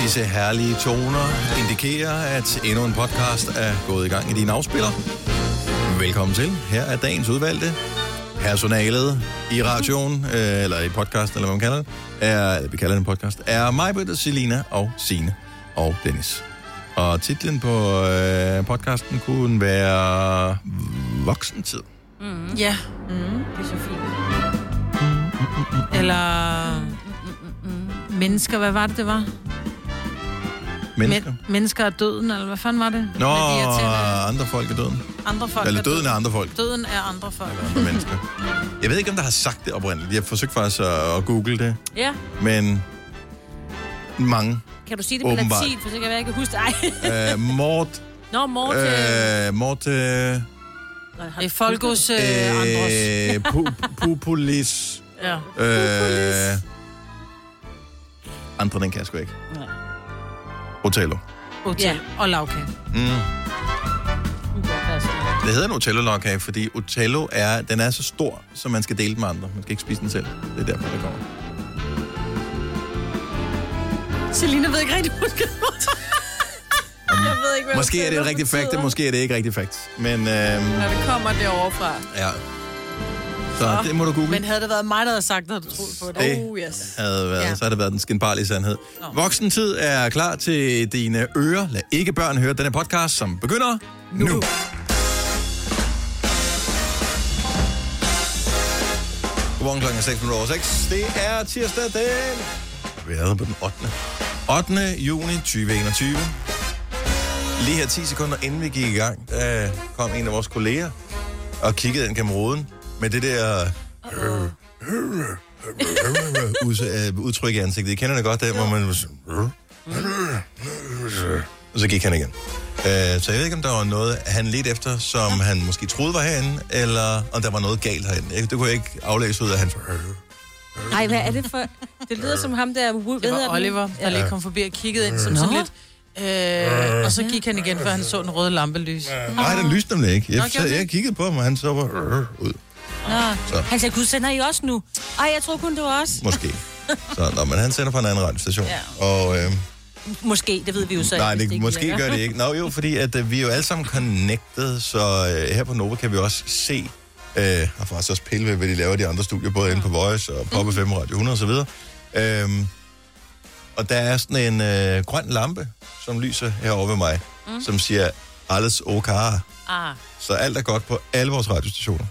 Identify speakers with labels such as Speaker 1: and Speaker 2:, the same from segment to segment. Speaker 1: Disse herlige toner indikerer, at endnu en podcast er gået i gang i din afspiller. Velkommen til. Her er dagens udvalgte. Personalet i radioen, øh, eller i podcast, eller hvad man kalder det, er, eller vi kalder det en podcast, er mig, Selina og Sine og Dennis. Og titlen på øh, podcasten kunne være Voksentid.
Speaker 2: Mm. Ja. Mm. Det er så fint. Eller... Mm, mm, mm. Mennesker, hvad var det, det var?
Speaker 1: Mennesker.
Speaker 2: Men, mennesker er døden, eller hvad fanden var det?
Speaker 1: Nå,
Speaker 2: Med de her tænder.
Speaker 1: andre folk er døden.
Speaker 2: andre folk
Speaker 1: Eller døden er andre folk.
Speaker 2: Døden er andre folk.
Speaker 1: For mennesker. Jeg ved ikke, om der har sagt det oprindeligt. Jeg forsøgte faktisk at, at google det,
Speaker 3: Ja.
Speaker 1: men mange.
Speaker 3: Kan du sige det på
Speaker 1: Åbenbart.
Speaker 3: latin, for så kan jeg ikke huske det. Ej.
Speaker 1: Øh, Mort...
Speaker 3: Nå, Morte.
Speaker 1: Øh, Mort... Øh,
Speaker 2: I Folkos øh, andres.
Speaker 1: øh, pu- Populis...
Speaker 2: Ja.
Speaker 1: Øh, andre, den kan jeg sgu ikke.
Speaker 3: Nej.
Speaker 1: Otello.
Speaker 2: Hotel og lavkage.
Speaker 1: Mm. Det hedder en Otello-logkage, fordi Otello er, den er så stor, så man skal dele den med andre. Man skal ikke spise den selv. Det er derfor, det kommer.
Speaker 3: Selina ved ikke rigtig, huske det. Jeg ved ikke, hvad
Speaker 1: Måske er det et rigtigt fact, og måske er det ikke rigtigt fact. Men øhm,
Speaker 4: Når det kommer derovre fra.
Speaker 1: ja. Så det må du google.
Speaker 2: Men havde det været mig, der havde sagt, når du troede på det?
Speaker 1: Det
Speaker 4: Oh, yes.
Speaker 1: havde været,
Speaker 2: Ja.
Speaker 1: ja. så havde det været den skinbarlige sandhed. Voksentid er klar til dine ører. Lad ikke børn høre denne podcast, som begynder nu. nu. Godmorgen klokken er 6 minutter over 6. Det er tirsdag den... Vi er på den 8. 8. juni 2021. Lige her 10 sekunder inden vi gik i gang, der kom en af vores kolleger og kiggede ind gennem roden med det der Øh, ud- øh, udtryk i ansigtet. I kender det godt, der hvor man... var sådan, Og så gik han igen. Øh, Så jeg ved ikke, om der var noget, han lidt efter, som han måske troede var herinde, eller om der var noget galt herinde. Jeg- Det kunne jeg ikke aflæse ud af hans...
Speaker 3: Nej, hvad er det for... Det lyder som ham der... Hvad
Speaker 2: Det
Speaker 3: hedder
Speaker 2: var
Speaker 3: den?
Speaker 2: Oliver, der lige kom forbi og kiggede ind som sådan lidt. Øh, og så gik han igen, før han så den røde lampelys.
Speaker 1: Nej, den lyste nemlig ikke. Jeg,
Speaker 2: Nå,
Speaker 1: så,
Speaker 2: gjorde den
Speaker 1: jeg kiggede på ham, og han så var Øh, ud.
Speaker 3: Nå. Han sagde, gud, sender I også nu? Ej, jeg tror kun, det var os.
Speaker 1: Måske. Så, nå, men han sender på en anden radiostation. Og, øh,
Speaker 3: Måske, det ved vi jo så
Speaker 1: nej,
Speaker 3: hvis
Speaker 1: det, måske
Speaker 3: virker.
Speaker 1: gør det ikke. Nå jo, fordi at, øh, vi er jo alle sammen connected, så øh, her på Nova kan vi også se, øh, og faktisk også pille ved, hvad de laver i de andre studier, både inde på Voice og Pop FM Radio 100 osv. Øhm, og der er sådan en øh, grøn lampe, som lyser herovre ved mig, mm. som siger, alles okay.
Speaker 3: Ah,
Speaker 1: Så alt er godt på alle vores radiostationer.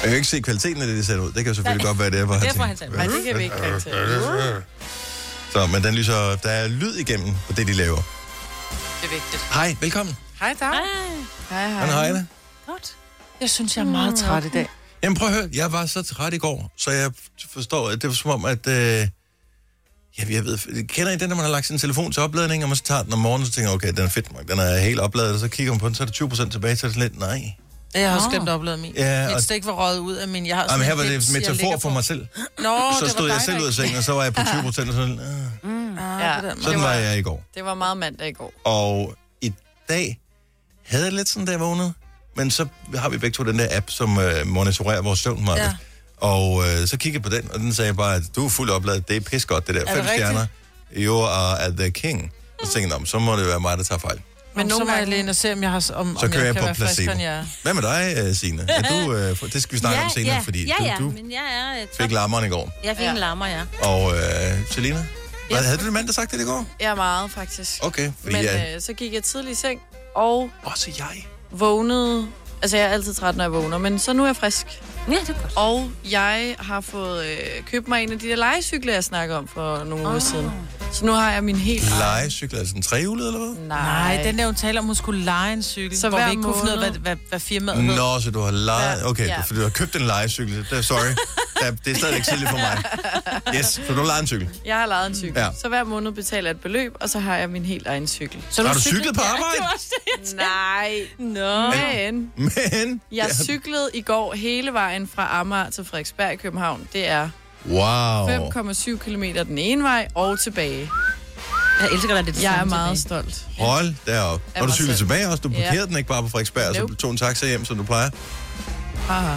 Speaker 1: Jeg kan jo ikke se kvaliteten af det, de sætter ud. Det kan jo selvfølgelig godt være, det er, hvor
Speaker 3: derfor han
Speaker 1: han
Speaker 3: sagde,
Speaker 1: tænker. "Øh,
Speaker 4: Nej, det kan vi ikke karaktere.
Speaker 1: Så, men den lyser, der er lyd igennem på det, de laver.
Speaker 4: Det er vigtigt.
Speaker 1: Hej, velkommen.
Speaker 4: Hej, dag. Hej, hej.
Speaker 1: Hvordan har I det?
Speaker 3: godt.
Speaker 2: Jeg synes, jeg er meget træt i dag.
Speaker 1: Jamen prøv at høre, jeg var så træt i går, så jeg forstår, at det var som om, at... Øh, ja, jeg ved, kender I den, når man har lagt sin telefon til opladning, og man så tager den om morgenen, så tænker jeg, okay, den er fedt nok, den er helt opladet, og så kigger man på den, så er der 20% tilbage, så er det sådan lidt, nej.
Speaker 2: Jeg har også glemt at opleve min.
Speaker 1: Ja,
Speaker 2: Mit
Speaker 1: og-
Speaker 2: stik var røget ud af min. Jeg har sådan
Speaker 1: Jamen, her
Speaker 2: en
Speaker 1: var det
Speaker 2: dims,
Speaker 1: en
Speaker 2: jeg ligger
Speaker 1: metafor for
Speaker 2: på.
Speaker 1: mig selv.
Speaker 2: Nå,
Speaker 1: Så
Speaker 2: det
Speaker 1: stod
Speaker 2: var
Speaker 1: jeg selv ud af sengen, og så var jeg på 20%, og sådan, øh,
Speaker 4: Mm.
Speaker 3: Ah,
Speaker 4: Ja,
Speaker 1: sådan var jeg i går.
Speaker 4: det var meget mandag i går.
Speaker 1: Og i dag havde jeg lidt sådan, da jeg vågnede. Men så har vi begge to den der app, som øh, monitorerer vores søvnmarked. Ja.
Speaker 2: Ja.
Speaker 1: Og øh, så kiggede jeg på den, og den sagde bare, at du er fuldt opladet. Det er pis godt, det der.
Speaker 2: det
Speaker 1: Fem
Speaker 2: rigtigt?
Speaker 1: stjerner. You are at the king. Og så tænkte jeg, "Nå, men så må det være mig, der tager fejl.
Speaker 2: Men nogle gange alene og se, om jeg har... Om,
Speaker 1: Så
Speaker 2: om
Speaker 1: kører jeg,
Speaker 2: kan
Speaker 1: på
Speaker 2: være friskere,
Speaker 1: placebo.
Speaker 2: end jeg er.
Speaker 1: Hvad med dig, øh, Signe? Er du, øh, for- det skal vi snakke om senere,
Speaker 3: ja,
Speaker 1: fordi
Speaker 3: ja, ja,
Speaker 1: du, du
Speaker 3: men jeg er... øh, Top.
Speaker 1: fik lammeren i går.
Speaker 3: Jeg fik
Speaker 4: Ja.
Speaker 3: en lammer, ja.
Speaker 1: Og øh, Selina? Ja. Havde du en mand, der sagt det i går?
Speaker 4: Ja, meget faktisk.
Speaker 1: Okay, fordi
Speaker 4: Men
Speaker 1: jeg...
Speaker 4: øh, så gik jeg tidlig i seng og
Speaker 1: Også jeg.
Speaker 4: vågnede. Altså, jeg er altid træt, når jeg vågner, men så nu er jeg frisk.
Speaker 3: Ja, det er godt.
Speaker 4: Og jeg har fået øh, købt mig en af de der legecykler, jeg snakker om for nogle
Speaker 3: Ah.
Speaker 4: uger siden. Så nu har jeg min helt...
Speaker 1: Legecykler, altså en trehjulet eller hvad?
Speaker 4: Nej,
Speaker 2: Nej, den der, hun taler om, hun skulle lege en cykel,
Speaker 4: Så
Speaker 2: så hvor vi
Speaker 4: hver
Speaker 2: ikke måned. kunne finde ud af, hvad,
Speaker 4: måned-
Speaker 2: hvad, hvad firmaet hed.
Speaker 1: Nå, så du har lejet...
Speaker 4: Ja.
Speaker 1: Okay,
Speaker 4: Ja.
Speaker 1: du, for du har købt en lejecykel. Det, sorry. Der, det er stadig ikke tidligt for mig. Yes, så du har lejet en cykel.
Speaker 4: jeg har lejet en cykel.
Speaker 1: Ja.
Speaker 4: Ja. Så hver måned betaler jeg et beløb, og så har jeg min helt egen cykel.
Speaker 2: Så
Speaker 1: Har du cyklet på arbejde?
Speaker 4: Nej.
Speaker 3: Nå.
Speaker 4: Men
Speaker 1: Men...
Speaker 4: jeg cyklede i går hele vejen fra Amager til Frederiksberg i København. Det er
Speaker 1: Wow.
Speaker 4: 5,7 km den ene vej og tilbage.
Speaker 3: Jeg elsker dig lidt.
Speaker 4: Jeg er meget stolt.
Speaker 1: Hold da op.
Speaker 4: Af
Speaker 1: Når du
Speaker 4: mig
Speaker 1: cyklede
Speaker 4: selv.
Speaker 1: tilbage også, du parkerede
Speaker 4: Ja.
Speaker 1: den ikke bare på Frederiksberg, og så
Speaker 4: Nope.
Speaker 1: tog en taxa hjem, som du plejer.
Speaker 4: Aha.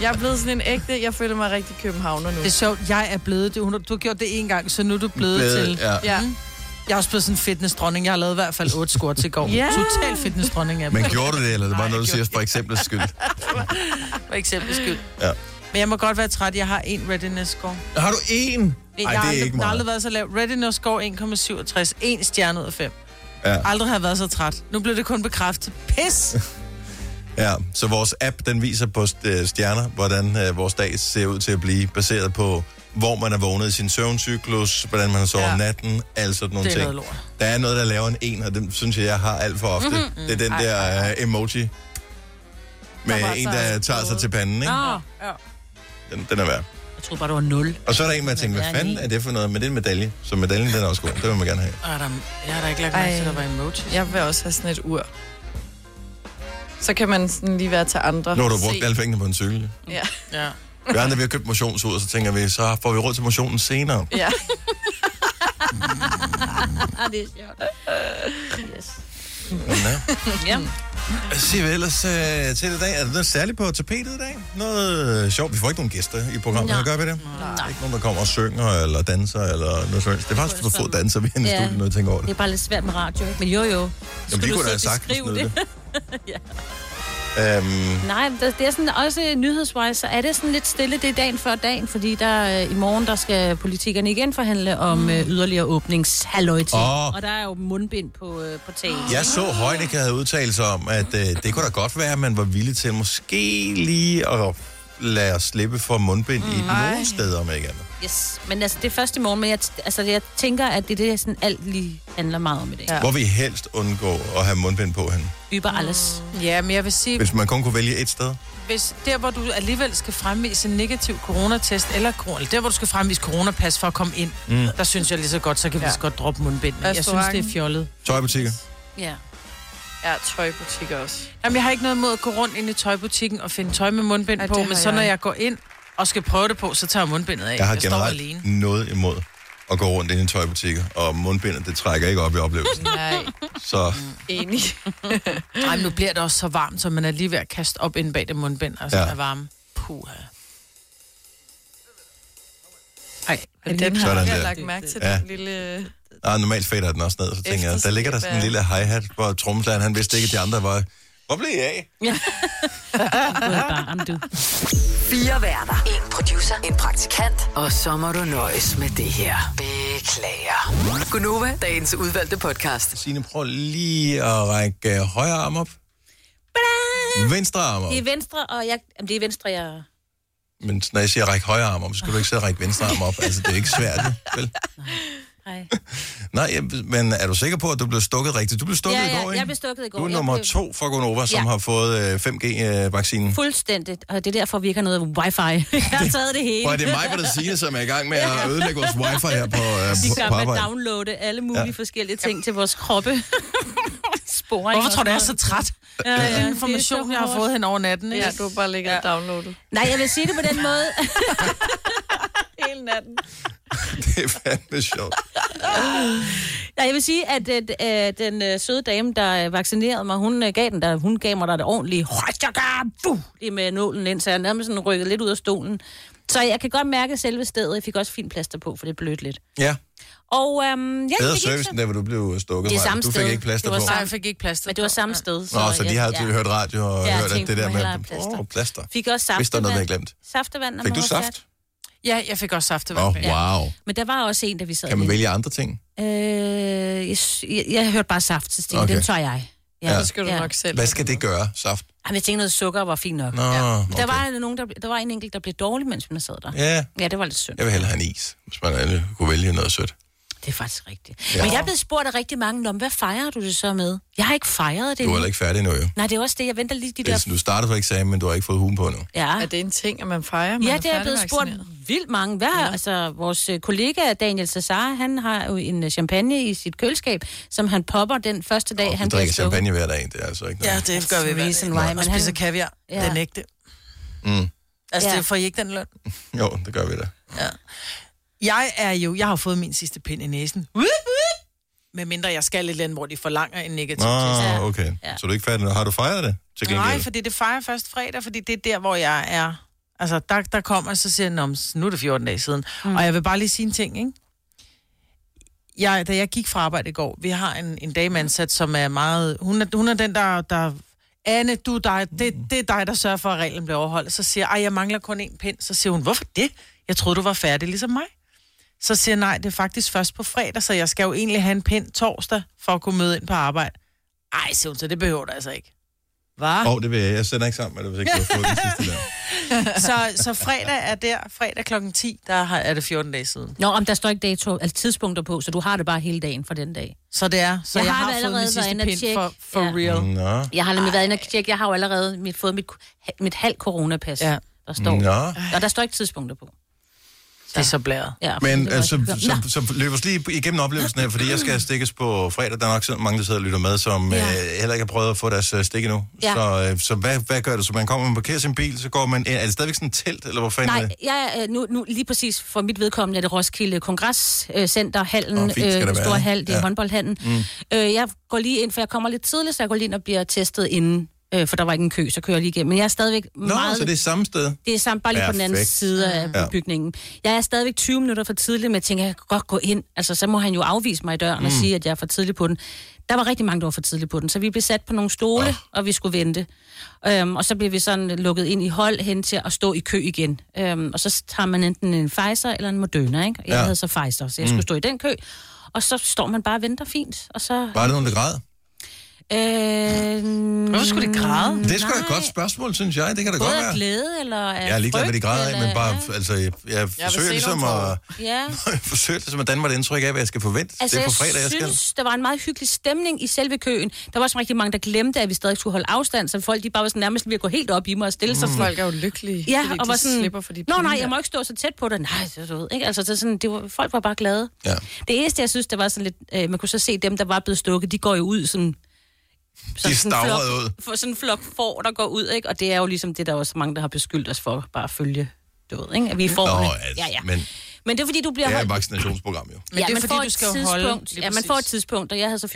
Speaker 4: jeg er blevet sådan en ægte, jeg føler mig rigtig københavner nu.
Speaker 5: Det er sjovt, jeg er blevet det. Hun- Du har gjort det en gang, så nu er du blevet,
Speaker 1: Blevet,
Speaker 5: til.
Speaker 1: ja.
Speaker 4: Ja.
Speaker 5: Mm. Jeg er også blevet sådan en fitnessdronning. Jeg har lavet i hvert fald otte skur til i går.
Speaker 4: Ja.
Speaker 5: Total fitnessdronning af dem.
Speaker 1: Men gjorde du det, eller det var
Speaker 5: Nej,
Speaker 1: noget, du
Speaker 5: jeg
Speaker 1: siger for eksempel skyld?
Speaker 5: For eksempel skyld.
Speaker 1: Ja.
Speaker 5: Men jeg må godt være træt. Jeg har en readiness score.
Speaker 1: Har du en?
Speaker 5: Jeg
Speaker 1: Ej,
Speaker 5: har
Speaker 1: det
Speaker 5: aldrig,
Speaker 1: er ikke
Speaker 5: der har aldrig
Speaker 1: meget.
Speaker 5: været så lav. Readiness score 1,67. En stjerne ud af fem.
Speaker 1: Ja.
Speaker 5: Aldrig har jeg været så træt. Nu blev det kun bekræftet. Pis!
Speaker 1: Ja, så vores app, den viser på st- øh, stjerner, hvordan øh, vores dag ser ud til at blive, baseret på, hvor man er vågnet i sin søvncyklus, hvordan man har sovet
Speaker 5: Ja.
Speaker 1: om natten, alt sådan nogle
Speaker 5: Det er
Speaker 1: ting.
Speaker 5: noget lort. Mhm.
Speaker 1: Der er noget, der laver en en, og den synes jeg, jeg har alt for ofte. Mm-hmm. Det er den der øh, emoji med
Speaker 4: Der
Speaker 1: der
Speaker 4: bare
Speaker 1: en,
Speaker 4: tager
Speaker 1: der
Speaker 4: sig
Speaker 1: tager sig
Speaker 4: noget.
Speaker 1: til panden, ikke?
Speaker 5: Nå,
Speaker 1: Den, den er værd.
Speaker 5: jeg troede bare, det var 0.
Speaker 1: Og så er der en, man tænker,
Speaker 5: er
Speaker 1: hvad
Speaker 5: en
Speaker 1: fanden er det for noget? Men det er en medalje, så medaljen den er også god. Det vil man gerne have.
Speaker 5: Og er der, jeg har da ikke lagt mærke til, at der var
Speaker 4: Ej.
Speaker 5: emojis.
Speaker 4: Jeg vil også have sådan et ur. Så kan man sådan lige være til andre.
Speaker 1: Nu har du brugt
Speaker 4: Se.
Speaker 1: alle pengene på en cykel.
Speaker 4: Ja.
Speaker 5: Ja.
Speaker 1: Vi andre, vi har købt motionsud, og så tænker vi, så får vi råd til motionen senere.
Speaker 4: ja.
Speaker 3: det er sjovt. Yes.
Speaker 1: Ja.
Speaker 3: Ja.
Speaker 1: Sig vi ellers øh, til i dag. Er der noget særligt på tapetet i dag? Noget øh, sjovt? Vi får ikke nogen gæster i programmet, så
Speaker 3: Nej.
Speaker 1: gør vi det. Der er Ikke nogen, der kommer og synger, eller danser, eller noget sådan. Det er faktisk for få danser, vi har i
Speaker 3: Ja.
Speaker 1: studiet, når jeg tænker over
Speaker 3: Det
Speaker 1: det.
Speaker 3: er bare lidt svært med radio, ikke? Men jo, jo.
Speaker 1: Jamen,
Speaker 3: Skulle
Speaker 1: vi
Speaker 3: du
Speaker 1: kunne da
Speaker 3: så
Speaker 1: have sagt
Speaker 3: beskrive
Speaker 1: noget.
Speaker 3: det?
Speaker 1: ja. øhm,
Speaker 3: Nej, men der- det er sådan også nyhedswise, så er det sådan lidt stille, det er dagen før dagen, fordi der øh, i morgen, der skal politikerne igen forhandle om mm. yderligere åbningshalløj til.
Speaker 1: Åh.
Speaker 3: Og der er jo mundbind på, øh, på taget.
Speaker 1: jeg så Højnække havde udtalt sig om, at øh, det kunne da godt være, at man var villig til måske lige at lade os slippe for mundbind
Speaker 3: Mm,
Speaker 1: i nogle steder, om ikke andet.
Speaker 3: Yes. Men altså, det er først i morgen, men jeg, t- altså, jeg tænker, at det er det, sådan alt lige handler meget om i dag. Ja.
Speaker 4: Ja.
Speaker 1: Hvor vi helst undgå at have mundbind på henne.
Speaker 3: Yber
Speaker 1: Mm.
Speaker 3: alles.
Speaker 5: ja, men jeg vil sige,
Speaker 1: Hvis man kun kunne vælge et sted.
Speaker 5: hvis der, hvor du alligevel skal fremvise en negativ coronatest, eller kor- eller der, hvor du skal fremvise coronapas for at komme ind, mm. der synes jeg lige så godt, så kan vi
Speaker 4: Ja.
Speaker 5: så godt droppe mundbindene. Jeg synes,
Speaker 4: Restauranten.
Speaker 5: det er fjollet.
Speaker 1: Tøjbutikker.
Speaker 3: Ja.
Speaker 4: Ja, tøjbutikker også.
Speaker 5: Jamen, jeg har ikke noget imod at gå rundt ind i tøjbutikken og finde tøj med mundbind
Speaker 4: Ej,
Speaker 5: på,
Speaker 4: det har
Speaker 5: men så når
Speaker 4: jeg.
Speaker 5: jeg går ind og skal prøve det på, så tager jeg mundbindet af.
Speaker 1: Jeg har
Speaker 5: står alene.
Speaker 1: generelt noget imod at gå rundt ind i tøjbutikker, og mundbindet, det trækker ikke op i oplevelsen.
Speaker 4: Nej,
Speaker 1: Så
Speaker 4: enig.
Speaker 5: Ej, men nu bliver det også så varmt, så man er lige ved at kaste op ind bag det mundbind, altså
Speaker 1: Ja.
Speaker 5: ja. er varme. Puha. Ej,
Speaker 4: Men den har
Speaker 1: Sådan
Speaker 4: jeg
Speaker 1: der.
Speaker 4: lagt mærke til,
Speaker 1: Ja.
Speaker 4: den lille...
Speaker 1: nej, normalt fader den også ned, så tænker jeg, der ligger der sådan en lille hi-hat, hvor tromslageren, han vidste ikke, at de andre var... Hvor blev jeg af?
Speaker 3: Du er barn, du.
Speaker 6: Fire værter. En producer. En praktikant. Og så må du nøjes med det her. Beklager. Gunova, dagens udvalgte podcast.
Speaker 1: Signe, prøv lige at række øh, højre arm op. Venstre arm op.
Speaker 3: Det er venstre, og jeg... Jamen, det er venstre, jeg...
Speaker 1: Men når jeg siger række højre arm op, så skal du ikke sidde og række venstre arm op. Altså, det er ikke svært, vel?
Speaker 3: Hej.
Speaker 1: Nej, jeg- men er du sikker på, at du blev stukket rigtigt? Du blev stukket
Speaker 3: Ja,
Speaker 1: i
Speaker 3: ja,
Speaker 1: går, ikke?
Speaker 3: jeg blev stukket i går.
Speaker 1: Du er
Speaker 3: Jeg
Speaker 1: nummer
Speaker 3: blev-
Speaker 1: to for Gonova, som
Speaker 3: Ja.
Speaker 1: har fået øh, 5G-vaccinen.
Speaker 3: Fuldstændigt. Og det er derfor, vi ikke har noget wifi. jeg har taget det hele.
Speaker 1: Og det er mig, der siger, som er i gang med at ødelægge vores wifi her på, øh,
Speaker 3: Vi
Speaker 1: på,
Speaker 3: gør med at
Speaker 1: på arbejde.
Speaker 3: downloade alle mulige ja. forskellige ting til vores kroppe. Sporing.
Speaker 5: Hvorfor
Speaker 3: og
Speaker 5: tror du, jeg er
Speaker 3: sådan
Speaker 5: så træt? Ja,
Speaker 3: ja.
Speaker 5: ja. information,
Speaker 3: Det er
Speaker 5: jeg
Speaker 3: så
Speaker 5: har fået hen over natten.
Speaker 4: Ja,
Speaker 5: Ja,
Speaker 4: du har bare ligget og downloadet.
Speaker 3: noget. Nej, jeg vil sige det på den måde.
Speaker 4: Hele natten.
Speaker 1: Det er fandme sjovt.
Speaker 3: Nej, jeg vil sige, at øh, øh, den øh, søde dame, der øh, vaccinerede mig, hun øh, gav den der, hun gav mig der det ordentlige højtjakker, buh, lige med nålen ind, så jeg nærmest sådan rykkede lidt ud af stolen. Så jeg kan godt mærke selve stedet. Jeg fik også fint plaster på, for det blødt lidt.
Speaker 1: Ja,
Speaker 3: Og øhm, ja,
Speaker 1: bedre
Speaker 3: det gik
Speaker 1: service
Speaker 3: så-
Speaker 1: end der, hvor du blev stukket.
Speaker 3: Det er
Speaker 1: Maja.
Speaker 3: samme
Speaker 1: du fik
Speaker 3: sted.
Speaker 1: ikke plaster
Speaker 3: Det
Speaker 1: på.
Speaker 3: var
Speaker 5: Nej, jeg fik ikke plads.
Speaker 3: Men det var samme sted. Så,
Speaker 1: Nå, så de
Speaker 3: jeg-
Speaker 1: har tydeligt hørt radio og
Speaker 3: Ja, jeg
Speaker 1: hørt, at
Speaker 3: tænkte,
Speaker 1: det der
Speaker 3: man hellere have
Speaker 1: med
Speaker 3: plaster.
Speaker 1: åh, plaster.
Speaker 3: Fik også saftevand.
Speaker 1: Hvis der er noget, vi har glemt.
Speaker 3: Saftevand. når
Speaker 1: Fik
Speaker 3: man
Speaker 1: du
Speaker 3: var
Speaker 1: saft?
Speaker 3: sat.
Speaker 5: Ja, jeg fik også saft.
Speaker 1: Åh,
Speaker 5: Oh, ja.
Speaker 1: wow.
Speaker 3: Men der var også en, der vi sad
Speaker 1: Kan man
Speaker 3: i.
Speaker 1: vælge andre ting?
Speaker 3: Øh, jeg, sy- jeg, jeg hørte bare saft, så tænkte,
Speaker 1: Okay.
Speaker 3: okay. den tager jeg. Ja.
Speaker 1: Ja.
Speaker 3: ja.
Speaker 4: Så skal du nok selv.
Speaker 1: Hvad skal det gøre, saft?
Speaker 3: Jamen, jeg tænkte, noget sukker var fint nok.
Speaker 1: Nå, Mm, okay.
Speaker 3: Okay. Der, var nogen, der, der var en enkelt, der blev dårlig, mens man sad der. Ja,
Speaker 1: Ja,
Speaker 3: ja det var lidt synd.
Speaker 1: jeg vil hellere have en is, hvis man alle kunne vælge noget sødt.
Speaker 3: Det er faktisk rigtigt. Ja. Men jeg er blevet spurgt af rigtig mange, "Nå, men hvad fejrer du det så med? Jeg har ikke fejret det
Speaker 1: Du er
Speaker 3: endnu.
Speaker 1: heller ikke færdig endnu, jo.
Speaker 3: Nej, det er også det. Jeg venter lige de
Speaker 1: Det er,
Speaker 3: der...
Speaker 1: sådan, Altså, du startede på eksamen, men du har ikke fået hugen på endnu.
Speaker 3: Ja.
Speaker 4: Er det en ting, at man fejrer? Man
Speaker 3: Ja, det er jeg blevet spurgt
Speaker 4: færdigvaccineret?
Speaker 3: vildt mange. Hvad, ja. altså, vores øh, kollega Daniel Cesar, han har jo en øh, champagne i sit køleskab, som han popper den første dag, han
Speaker 1: Du
Speaker 3: bliver
Speaker 1: drikker
Speaker 3: stukket.
Speaker 1: champagne hver dag, det er altså ikke noget.
Speaker 5: Ja, det gør vi hver
Speaker 3: reason
Speaker 5: dag.
Speaker 3: why,
Speaker 5: Og
Speaker 3: men
Speaker 5: spiser
Speaker 3: han-
Speaker 5: kaviar.
Speaker 3: Ja.
Speaker 5: Den ægte.
Speaker 1: Mm.
Speaker 5: Altså,
Speaker 3: Ja.
Speaker 5: det får I ikke den løn.
Speaker 1: Jo, det gør vi da.
Speaker 5: Jeg er jo, jeg har fået min sidste pind i næsen. Wup, wup. Medmindre jeg skal et eller andet, hvor de forlanger en negativ test.
Speaker 1: Nå, okay. Så du er ikke færdig nu. Har du fejret det til gengæld?
Speaker 5: Nej, fordi det fejrer først fredag, fordi det er der, hvor jeg er. Altså, der, der kommer, så siger jeg, "Nå, men nu er det 14 dage siden. Mm. Og jeg vil bare lige sige en ting, ikke? Jeg, da jeg gik fra arbejde i går, vi har en, en dameansat, som er meget... Hun er, hun er den, der, der... Anne, du er dig, det, det er dig, der sørger for, at reglen bliver overholdt. Så siger jeg, "Ej, jeg mangler kun én pind. Så siger hun, hvorfor det? Jeg troede, du var færdig ligesom mig. Så siger jeg, nej, det er faktisk først på fredag, så jeg skal jo egentlig have en pind torsdag for at kunne møde ind på arbejde. Ej, siger hun, så det behøver du altså ikke. Hvad?
Speaker 1: Åh, oh, det vil jeg. Jeg sender ikke sammen med det, hvis ikke du har fået den sidste der.
Speaker 5: så, så fredag er der, fredag klokken 10, der har- er det 14 dage siden.
Speaker 3: Nå, om der står ikke dato, altså tidspunkter på, så du har det bare hele dagen for den dag.
Speaker 5: Så det er, så jeg, jeg har, har fået min sidste
Speaker 3: inde og
Speaker 5: pind
Speaker 3: tjekke.
Speaker 5: for, for
Speaker 3: Ja.
Speaker 5: ja. real.
Speaker 1: Nå.
Speaker 3: Jeg har nemlig været inde og tjekke. Jeg har jo allerede mit, fået mit, mit halv coronapas, ja.
Speaker 5: Ja.
Speaker 3: der står.
Speaker 1: Nå.
Speaker 3: Og der står ikke tidspunkter på.
Speaker 5: Det er så blæret.
Speaker 3: Ja,
Speaker 1: Men
Speaker 3: det var
Speaker 1: altså,
Speaker 3: ikke- Nå.
Speaker 1: så, så, så løb os lige igennem oplevelsen her, fordi jeg skal stikkes på fredag. Der er nok sådan mange, der sidder og lytter med, som ja. øh, heller ikke har prøvet at få deres øh, stik endnu.
Speaker 3: Ja.
Speaker 1: Så, øh, så hvad, hvad gør du? Så man kommer, man parkerer sin bil, så går man ind. Er det stadigvæk sådan et telt, eller hvor fanden er
Speaker 3: Nej,
Speaker 1: det?
Speaker 3: jeg, er, øh, nu, nu lige præcis for mit vedkommende er det Roskilde Kongresscenter, hallen,
Speaker 1: Åh,
Speaker 3: oh,
Speaker 1: fint skal det være,
Speaker 3: store
Speaker 1: ikke?
Speaker 3: hal, det er
Speaker 1: Ja.
Speaker 3: ja. håndboldhallen. Mm. Øh, jeg går lige ind, for jeg kommer lidt tidligt, så jeg går lige ind og bliver testet inden, øh, for der var ikke en kø, så kører jeg lige igennem. Men jeg er stadigvæk
Speaker 1: Nå,
Speaker 3: meget...
Speaker 1: så det er samme sted.
Speaker 3: Det er samt bare lige på den anden
Speaker 1: Perfekt.
Speaker 3: side af
Speaker 1: Ja.
Speaker 3: ja. bygningen. Jeg er stadigvæk 20 minutter for tidlig, men jeg tænker, jeg kan godt gå ind. Altså, så må han jo afvise mig i døren mm. og sige, at jeg er for tidlig på den. Der var rigtig mange, der var for tidlig på den, så vi blev sat på nogle stole, oh. og vi skulle vente. Øhm, og så blev vi sådan lukket ind i hold hen til at stå i kø igen. Øhm, og så tager man enten en Pfizer eller en Moderna, ikke? Jeg
Speaker 1: Ja. Mm.
Speaker 3: ja. havde så Pfizer, så jeg skulle stå i den kø. Og så står man bare og venter fint, og så...
Speaker 1: Var det nogen, der græd?
Speaker 3: Mm, Øh,
Speaker 5: Hvorfor skulle de græde?
Speaker 1: Det er sgu da et godt spørgsmål, synes jeg. Det kan da godt
Speaker 3: både af
Speaker 1: være.
Speaker 3: glæde, eller af
Speaker 1: Jeg er ligeglad med, de
Speaker 3: frygt,
Speaker 1: græder af,
Speaker 3: eller-
Speaker 1: men bare, altså, jeg, jeg forsøger
Speaker 4: se
Speaker 1: ligesom
Speaker 4: nogle
Speaker 1: at...
Speaker 3: Ja. ja.
Speaker 1: Jeg forsøger ligesom at danne mig et indtryk af, hvad jeg skal forvente. Altså,
Speaker 3: Altså,
Speaker 1: det er på fredag, jeg
Speaker 3: jeg
Speaker 1: skal.
Speaker 3: synes, der var en meget hyggelig stemning i selve køen. Der var også rigtig mange, der glemte, at vi stadig skulle holde afstand, så folk de bare var sådan nærmest ved at gå helt op i mig og stille sig. sådan.
Speaker 4: Folk er jo lykkelige,
Speaker 3: Ja,
Speaker 4: fordi
Speaker 3: og
Speaker 4: de
Speaker 3: var sådan,
Speaker 4: slipper for de
Speaker 3: Nå
Speaker 4: pinde
Speaker 3: nej,
Speaker 4: der."
Speaker 3: jeg må ikke stå så tæt på dig. Nej, så du ved, ikke? Altså, så sådan, det var, folk var bare glade.
Speaker 1: Ja.
Speaker 3: Det eneste, jeg synes, der var sådan lidt... Øh, man kunne så se dem, der var blevet stukket, de går jo ud sådan...
Speaker 1: De
Speaker 3: sådan en flok-
Speaker 1: stavrede ud.
Speaker 3: For sådan en flok får, der går ud, ikke? Og det er jo ligesom det, der var så mange, der har beskyldt os for bare at følge, du ved, ikke? At vi får
Speaker 1: Nå, altså,
Speaker 3: ja, ja.
Speaker 1: men
Speaker 3: Men det er fordi, du bliver
Speaker 1: det er
Speaker 3: holdt
Speaker 1: et vaccinationsprogram jo.
Speaker 5: Men det er
Speaker 3: man
Speaker 5: fordi,
Speaker 3: får
Speaker 5: du
Speaker 3: et
Speaker 5: skal jo
Speaker 3: tidspunkt-
Speaker 5: holde- lige
Speaker 3: Ja, man
Speaker 5: præcis.
Speaker 3: får et tidspunkt, og jeg havde så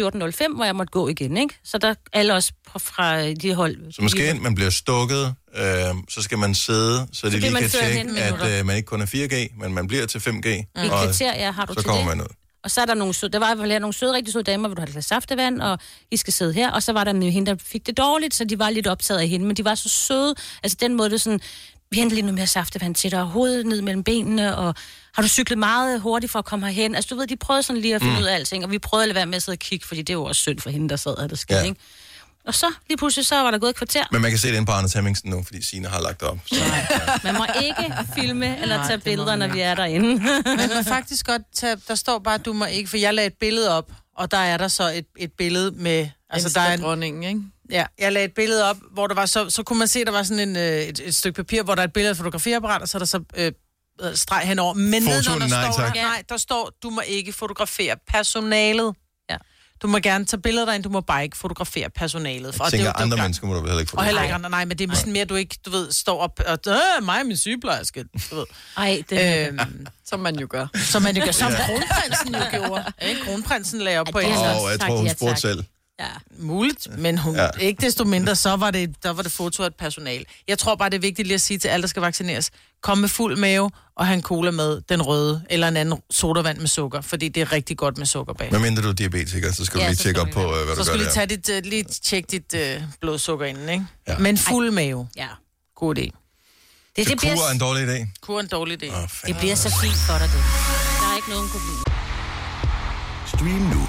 Speaker 3: 14.05, hvor jeg måtte gå igen, ikke? Så der alle os fra- fra de hold...
Speaker 1: Så man skal ind, man bliver stukket, øh, så skal man sidde, så de
Speaker 3: bliver
Speaker 1: lige
Speaker 3: man
Speaker 1: kan
Speaker 3: ført
Speaker 1: tjekke,
Speaker 3: hen
Speaker 1: at
Speaker 3: minutter.
Speaker 1: øh, man ikke kun er 4G, men man bliver til 5G,
Speaker 3: I
Speaker 1: og
Speaker 3: kriterier har du
Speaker 1: så
Speaker 3: til
Speaker 1: kommer
Speaker 3: det.
Speaker 1: man ud.
Speaker 3: Og så er der nogle søde, der var i hvert fald nogle søde, rigtig søde damer, hvor du har et glas saftevand, og I skal sidde her. Og så var der med hende, der fik det dårligt, så de var lidt optaget af hende, men de var så søde. Altså den måde, det sådan, vi henter lige noget mere saftevand til dig, og hovedet ned mellem benene, og har du cyklet meget hurtigt for at komme herhen? Altså du ved, de prøvede sådan lige at finde mm. ud af alting, og vi prøvede at lade være med at sidde og kigge, fordi det var også synd for hende, der sad og havde det skidt,
Speaker 1: Ja.
Speaker 3: ja. ikke? Og så lige pludselig, så var der gået et kvarter,
Speaker 1: Men man kan se det inde på Anders Hemmingsen nu, fordi Sina har lagt det op. Så,
Speaker 3: Man må ikke filme eller tage billeder, når vi er derinde.
Speaker 5: Man kan faktisk godt tage, der står bare, du må ikke, for jeg lagde et billede op, og der er der så et, et billede med, altså der er en,
Speaker 4: dronningen, ikke?
Speaker 5: ja, jeg lagde et billede op, hvor der var så, så kunne man se, der var sådan en, øh, et, et stykke papir, hvor der er et billede af et fotografiapparat, og så er der så øh, øh, streg henover. Men
Speaker 1: Foto,
Speaker 5: nedenunder
Speaker 1: nej,
Speaker 5: står
Speaker 1: tak.
Speaker 5: der, nej, der står, du må ikke fotografere personalet. Ja. Du må gerne tage billeder derind, du må bare ikke fotografere personalet. For,
Speaker 1: jeg
Speaker 5: og det er
Speaker 1: tænker,
Speaker 5: jo dumt
Speaker 1: andre
Speaker 5: nok.
Speaker 1: mennesker må du vel heller ikke få
Speaker 5: Og heller ikke andre, nej, men det er sådan mere, du ikke, du ved, står op og, øh, mig og min sygeplejerske, du ved.
Speaker 3: Ej, det er
Speaker 5: Øhm,
Speaker 4: Som man jo gør.
Speaker 5: som man jo gør, som kronprinsen jo gjorde. Ikke? Kronprinsen lagde op på
Speaker 3: det
Speaker 5: en
Speaker 3: er så-
Speaker 1: Og jeg
Speaker 3: Tak,
Speaker 1: tror, hun
Speaker 3: ja,
Speaker 1: spurgte
Speaker 3: tak.
Speaker 1: selv.
Speaker 3: ja.
Speaker 5: muligt, men hun,
Speaker 1: Ja.
Speaker 5: ja. ikke desto mindre, så var det, der var det foto af et personal. Jeg tror bare, det er vigtigt lige at sige til alle, der skal vaccineres, kom med fuld mave og have en cola med den røde, eller en anden sodavand med sukker, fordi det er rigtig godt med sukker bag.
Speaker 1: Men mindre du er diabetiker, så skal du
Speaker 3: Ja,
Speaker 1: lige
Speaker 3: så
Speaker 1: tjekke op
Speaker 3: skal
Speaker 1: på,
Speaker 3: man
Speaker 1: øh,
Speaker 5: Så
Speaker 1: hvad du
Speaker 5: skal
Speaker 1: gør
Speaker 5: du lige,
Speaker 1: der.
Speaker 5: tage dit, øh, lige tjekke dit øh, blodsukker inden, ikke?
Speaker 1: Ja.
Speaker 5: Ja. Men fuld mave.
Speaker 3: ja.
Speaker 5: God idé.
Speaker 3: Det, det,
Speaker 1: Kur er en
Speaker 3: bliver,
Speaker 1: dårlig idé.
Speaker 5: Kur er en dårlig idé.
Speaker 1: Åh,
Speaker 3: det
Speaker 1: fanden.
Speaker 3: bliver så fint for dig, det. Der er ikke nogen problem.
Speaker 7: Stream nu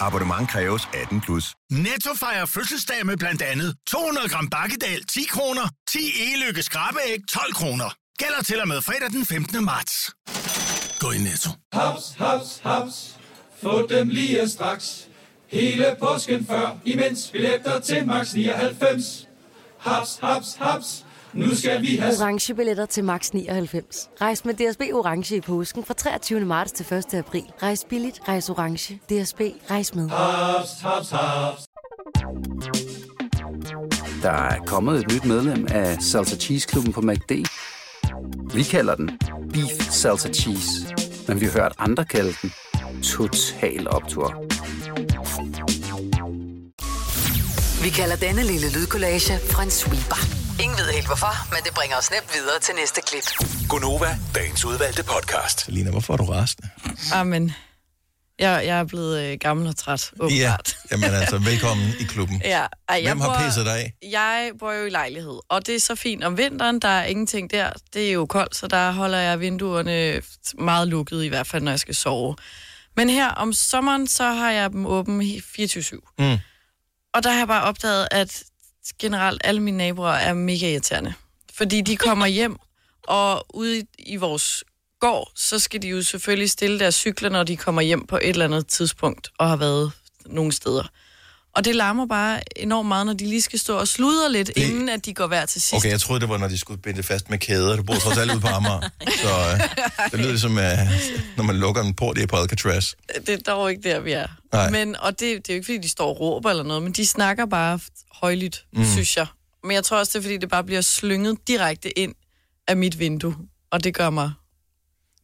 Speaker 7: Abonnement kræves 18 plus.
Speaker 8: Netto fejrer fødselsdag med blandt andet 200 gram bakkedal 10 kroner, 10 e-lykke skrabeæg 12 kroner. Gælder til og med fredag den 15. marts. Gå i Netto.
Speaker 9: Haps, haps, haps. Få dem lige straks. Hele påsken før, imens billetter til max 99. Haps, haps, haps. Nu skal vi have
Speaker 10: orange billetter til max 99. Rejs med DSB orange i påsken fra 23. marts til 1. april. Rejs billigt, rejs orange. DSB rejs med.
Speaker 9: Ah, haps, haps, haps.
Speaker 11: Der er kommet et nyt medlem af Salsa Cheese Klubben på MACD. Vi kalder den Beef Salsa Cheese, men vi har hørt andre kalde den Total Optor.
Speaker 6: Vi kalder denne lille lydkollage en sweeper. Ingen ved helt hvorfor, men det bringer os nemt videre til næste klip.
Speaker 12: Gunova, dagens udvalgte podcast.
Speaker 1: Selina, hvorfor er du rasende?
Speaker 4: Amen. Jeg, jeg er blevet øh, gammel og træt.
Speaker 1: Ja, jamen altså, velkommen i klubben.
Speaker 4: Ja, ej,
Speaker 1: Hvem har pisset dig af?
Speaker 4: Jeg bor jo i lejlighed, og det er så fint om vinteren. Der er ingenting der. Det er jo koldt, så der holder jeg vinduerne meget lukkede, i hvert fald når jeg skal sove. Men her om sommeren, så har jeg dem åbne he- 24-7.
Speaker 13: Mm.
Speaker 4: Og der har jeg bare opdaget, at generelt alle mine naboer er mega irriterende. Fordi de kommer hjem, og ude i- i vores gård, så skal de jo selvfølgelig stille deres cykler, når de kommer hjem på et eller andet tidspunkt og har været nogle steder. Og det larmer bare enormt meget, når de lige skal stå og sludre lidt, det... inden at de går hver til sidst.
Speaker 1: Okay, jeg troede, det var, når de skulle binde det fast med kæder. Du bor trods alt ude på Amager. Så øh, det lyder som, øh, når man lukker en port i på Alcatraz.
Speaker 4: Øh, Det er dog ikke der, vi er.
Speaker 1: Nej.
Speaker 4: Men, og det, det er jo ikke, fordi de står og råber eller noget, men de snakker bare højlydt,
Speaker 1: Mm.
Speaker 4: mm. synes jeg. Men jeg tror også, det er, fordi det bare bliver slynget direkte ind af mit vindue. Og det gør mig...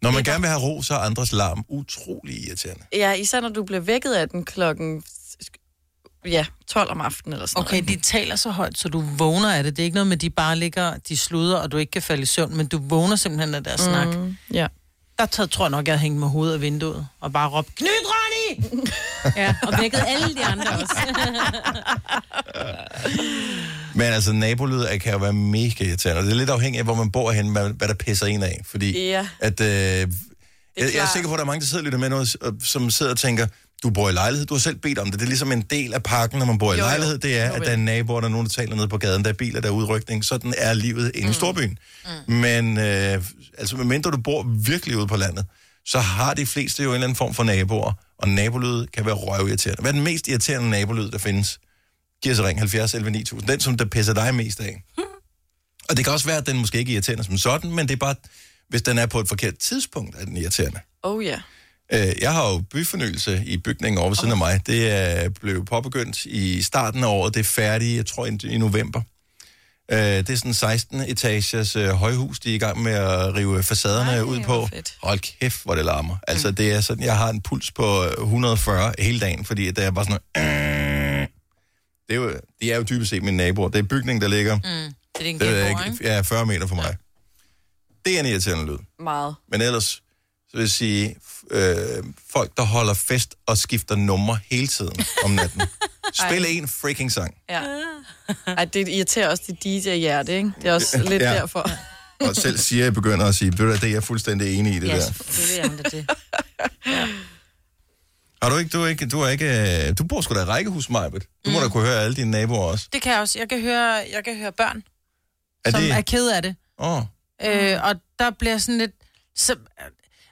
Speaker 1: Når man gerne vil have ro, så er andres larm utrolig irriterende.
Speaker 4: Ja, især når du bliver vækket af den klokken ja, 12 om aftenen eller sådan
Speaker 5: Okay, de taler så højt, så du vågner af det. Det er ikke noget med, at de bare ligger, de sluder, og du ikke kan falde i søvn, men du vågner simpelthen af deres
Speaker 4: Mm,
Speaker 5: mm, snak.
Speaker 4: Ja.
Speaker 5: Der tager, tror jeg nok, jeg hængte med hovedet af vinduet og bare råbte, knyt Ronny!
Speaker 3: ja, og vækkede alle de andre også.
Speaker 1: Men altså, nabolyd er- kan jo være mega irriterende. Og Det er lidt afhængigt af, hvor man bor hen, hvad, hvad der pisser en af. Fordi
Speaker 4: Ja.
Speaker 1: at, øh, jeg, jeg er sikker på, at der er mange, der sidder og lytter med noget, og- som sidder og tænker, du bor i lejlighed, du har selv bedt om det. Det er ligesom en del af pakken, når man bor i
Speaker 14: Jo, jo.
Speaker 1: lejlighed, det er, at der er naboer, der er nogen, der taler ned på gaden, der er biler, der er udrykning. Sådan er livet inde i storbyen. Mm. Men øh, altså, medmindre du bor virkelig ude på landet, så har de fleste jo en eller anden form for naboer, og nabolyd kan være røvirriterende. Hvad er den mest irriterende nabolyd, der findes? Giv os et ring 70 11 9000. Den, som der pisser dig mest af. Og det kan også være, at den måske ikke er irriterende som sådan, men det er bare, hvis den er på et forkert tidspunkt, er den irriterende.
Speaker 4: Oh ja.
Speaker 1: Øh, Jeg har jo byfornyelse i bygningen over ved siden af mig. Det er blev påbegyndt i starten af året. Det er færdigt, jeg tror, i- i november. Øh, Det er sådan 16 etagers øh, højhus, de er i gang med at rive facaderne ud på. Hold kæft, hvor det larmer. Altså, det er sådan, jeg har en puls på øh, 140 hele dagen, fordi det er bare sådan noget... Det er jo, de er jo dybest set mine naboer. Det er bygningen, der ligger
Speaker 5: Mm, det er din
Speaker 1: det ved jeg
Speaker 5: genbo,
Speaker 1: ikke.
Speaker 5: ikke?
Speaker 1: Ja, 40 meter fra mig. Det er en irriterende lyd.
Speaker 4: Meget.
Speaker 1: Men ellers, så vil jeg sige, f- øh, folk, der holder fest og skifter numre hele tiden om natten. Spil
Speaker 4: Ej.
Speaker 1: en freaking sang.
Speaker 4: Ja. Ej, det irriterer også dit DJ-hjerte, ikke? Det er også
Speaker 1: Ja.
Speaker 4: lidt
Speaker 1: Ja.
Speaker 4: derfor.
Speaker 1: Og selv siger jeg begynder at sige, ved du hvad, det er jeg fuldstændig enig i det der.
Speaker 4: selvfølgelig er det det.
Speaker 1: Har du ikke, du er ikke, du er ikke, øh, du bor sgu da i rækkehus, Majbet. Du
Speaker 5: Mm.
Speaker 1: må da kunne høre alle dine naboer også.
Speaker 5: Det kan jeg også. Jeg kan høre, jeg kan høre børn,
Speaker 1: Er
Speaker 5: som
Speaker 1: det,
Speaker 5: er ked af det.
Speaker 1: åh, oh,
Speaker 5: Øh, og der bliver sådan lidt... Så,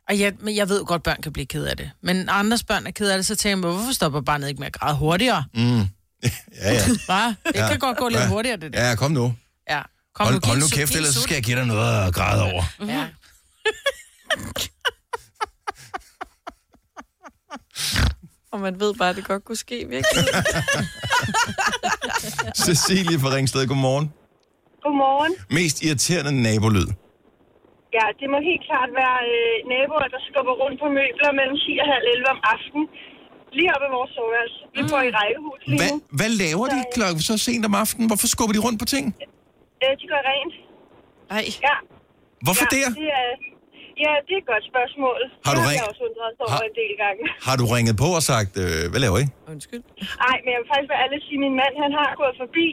Speaker 5: og jeg, men jeg ved godt, børn kan blive ked af det. Men når andres børn er ked af det, så tænker jeg, hvorfor stopper barnet ikke med at græde hurtigere?
Speaker 1: mm. ja, ja.
Speaker 5: Hva? Det
Speaker 1: Ja.
Speaker 5: kan godt gå lidt
Speaker 1: Ja.
Speaker 5: hurtigere, det der.
Speaker 1: Ja, kom nu.
Speaker 5: Ja.
Speaker 1: Kom, hold,
Speaker 5: giv
Speaker 1: hold
Speaker 5: en
Speaker 1: nu
Speaker 5: sut,
Speaker 1: kæft,
Speaker 5: giv en
Speaker 1: ellers så
Speaker 5: sut.
Speaker 1: skal jeg give dig noget at græde over.
Speaker 5: Ja.
Speaker 4: Og man ved bare, at det godt kunne ske, virkelig.
Speaker 1: Cecilie fra Ringsted, godmorgen.
Speaker 15: Godmorgen.
Speaker 1: Mest irriterende nabolyd.
Speaker 15: Ja, det må helt klart være øh, naboer, der skubber rundt på møbler mellem 10 og halv 11 om aftenen. Lige op ad vores soveværelse. Vi bor
Speaker 1: Mm.
Speaker 15: i rækkehus lige
Speaker 1: Hvad,
Speaker 15: nu.
Speaker 1: hvad laver de klokken så sent om aftenen? Hvorfor skubber de rundt på ting?
Speaker 15: Øh, de gør rent.
Speaker 4: Nej.
Speaker 15: Ja.
Speaker 1: Hvorfor
Speaker 15: ja,
Speaker 1: der?
Speaker 15: Det er, ja, det er et godt spørgsmål.
Speaker 1: Har du
Speaker 15: det har
Speaker 1: ring-
Speaker 15: jeg også undret os over
Speaker 1: Har-
Speaker 15: en del gange.
Speaker 1: Har du ringet på og sagt, øh, hvad laver I?
Speaker 15: Nej, men jeg vil faktisk være ærlig at sige, at min mand han har gået forbi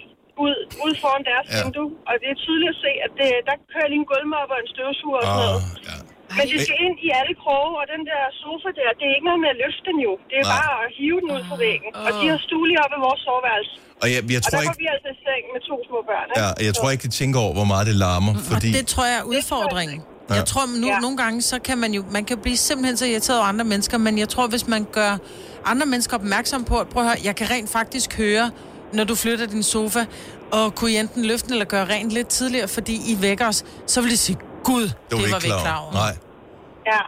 Speaker 15: ud, ud foran deres
Speaker 1: Ja.
Speaker 15: ja. vindue, og det er tydeligt at se, at det, der kører lige en gulvmop og en støvsuger og sådan
Speaker 1: Ah,
Speaker 15: noget. Men det skal ind i alle kroge, og den der sofa der, det er ikke noget med at løfte den jo. Det er
Speaker 1: Nej.
Speaker 15: bare at hive den ud fra væggen. Og de har stue lige op i vores soveværelse.
Speaker 1: Og jeg, jeg
Speaker 15: og
Speaker 1: tror
Speaker 15: der går
Speaker 1: ikke,
Speaker 15: vi altså i seng med to små børn.
Speaker 1: ja, jeg tror ikke, de tænker over, hvor meget det larmer, fordi
Speaker 5: Det tror jeg er udfordringen.
Speaker 1: Ja.
Speaker 5: Jeg tror, nu, ja. nogle gange, så kan man jo, man kan blive simpelthen så irriteret over andre mennesker, men jeg tror, hvis man gør andre mennesker opmærksom på, at prøv at høre, jeg kan rent faktisk høre, når du flytter din sofa, og kunne I enten løfte den eller gøre rent lidt tidligere, fordi I vækker os, så vil de sige, Gud, det, det var vi ikke klar over.
Speaker 1: Nej.
Speaker 16: Ja.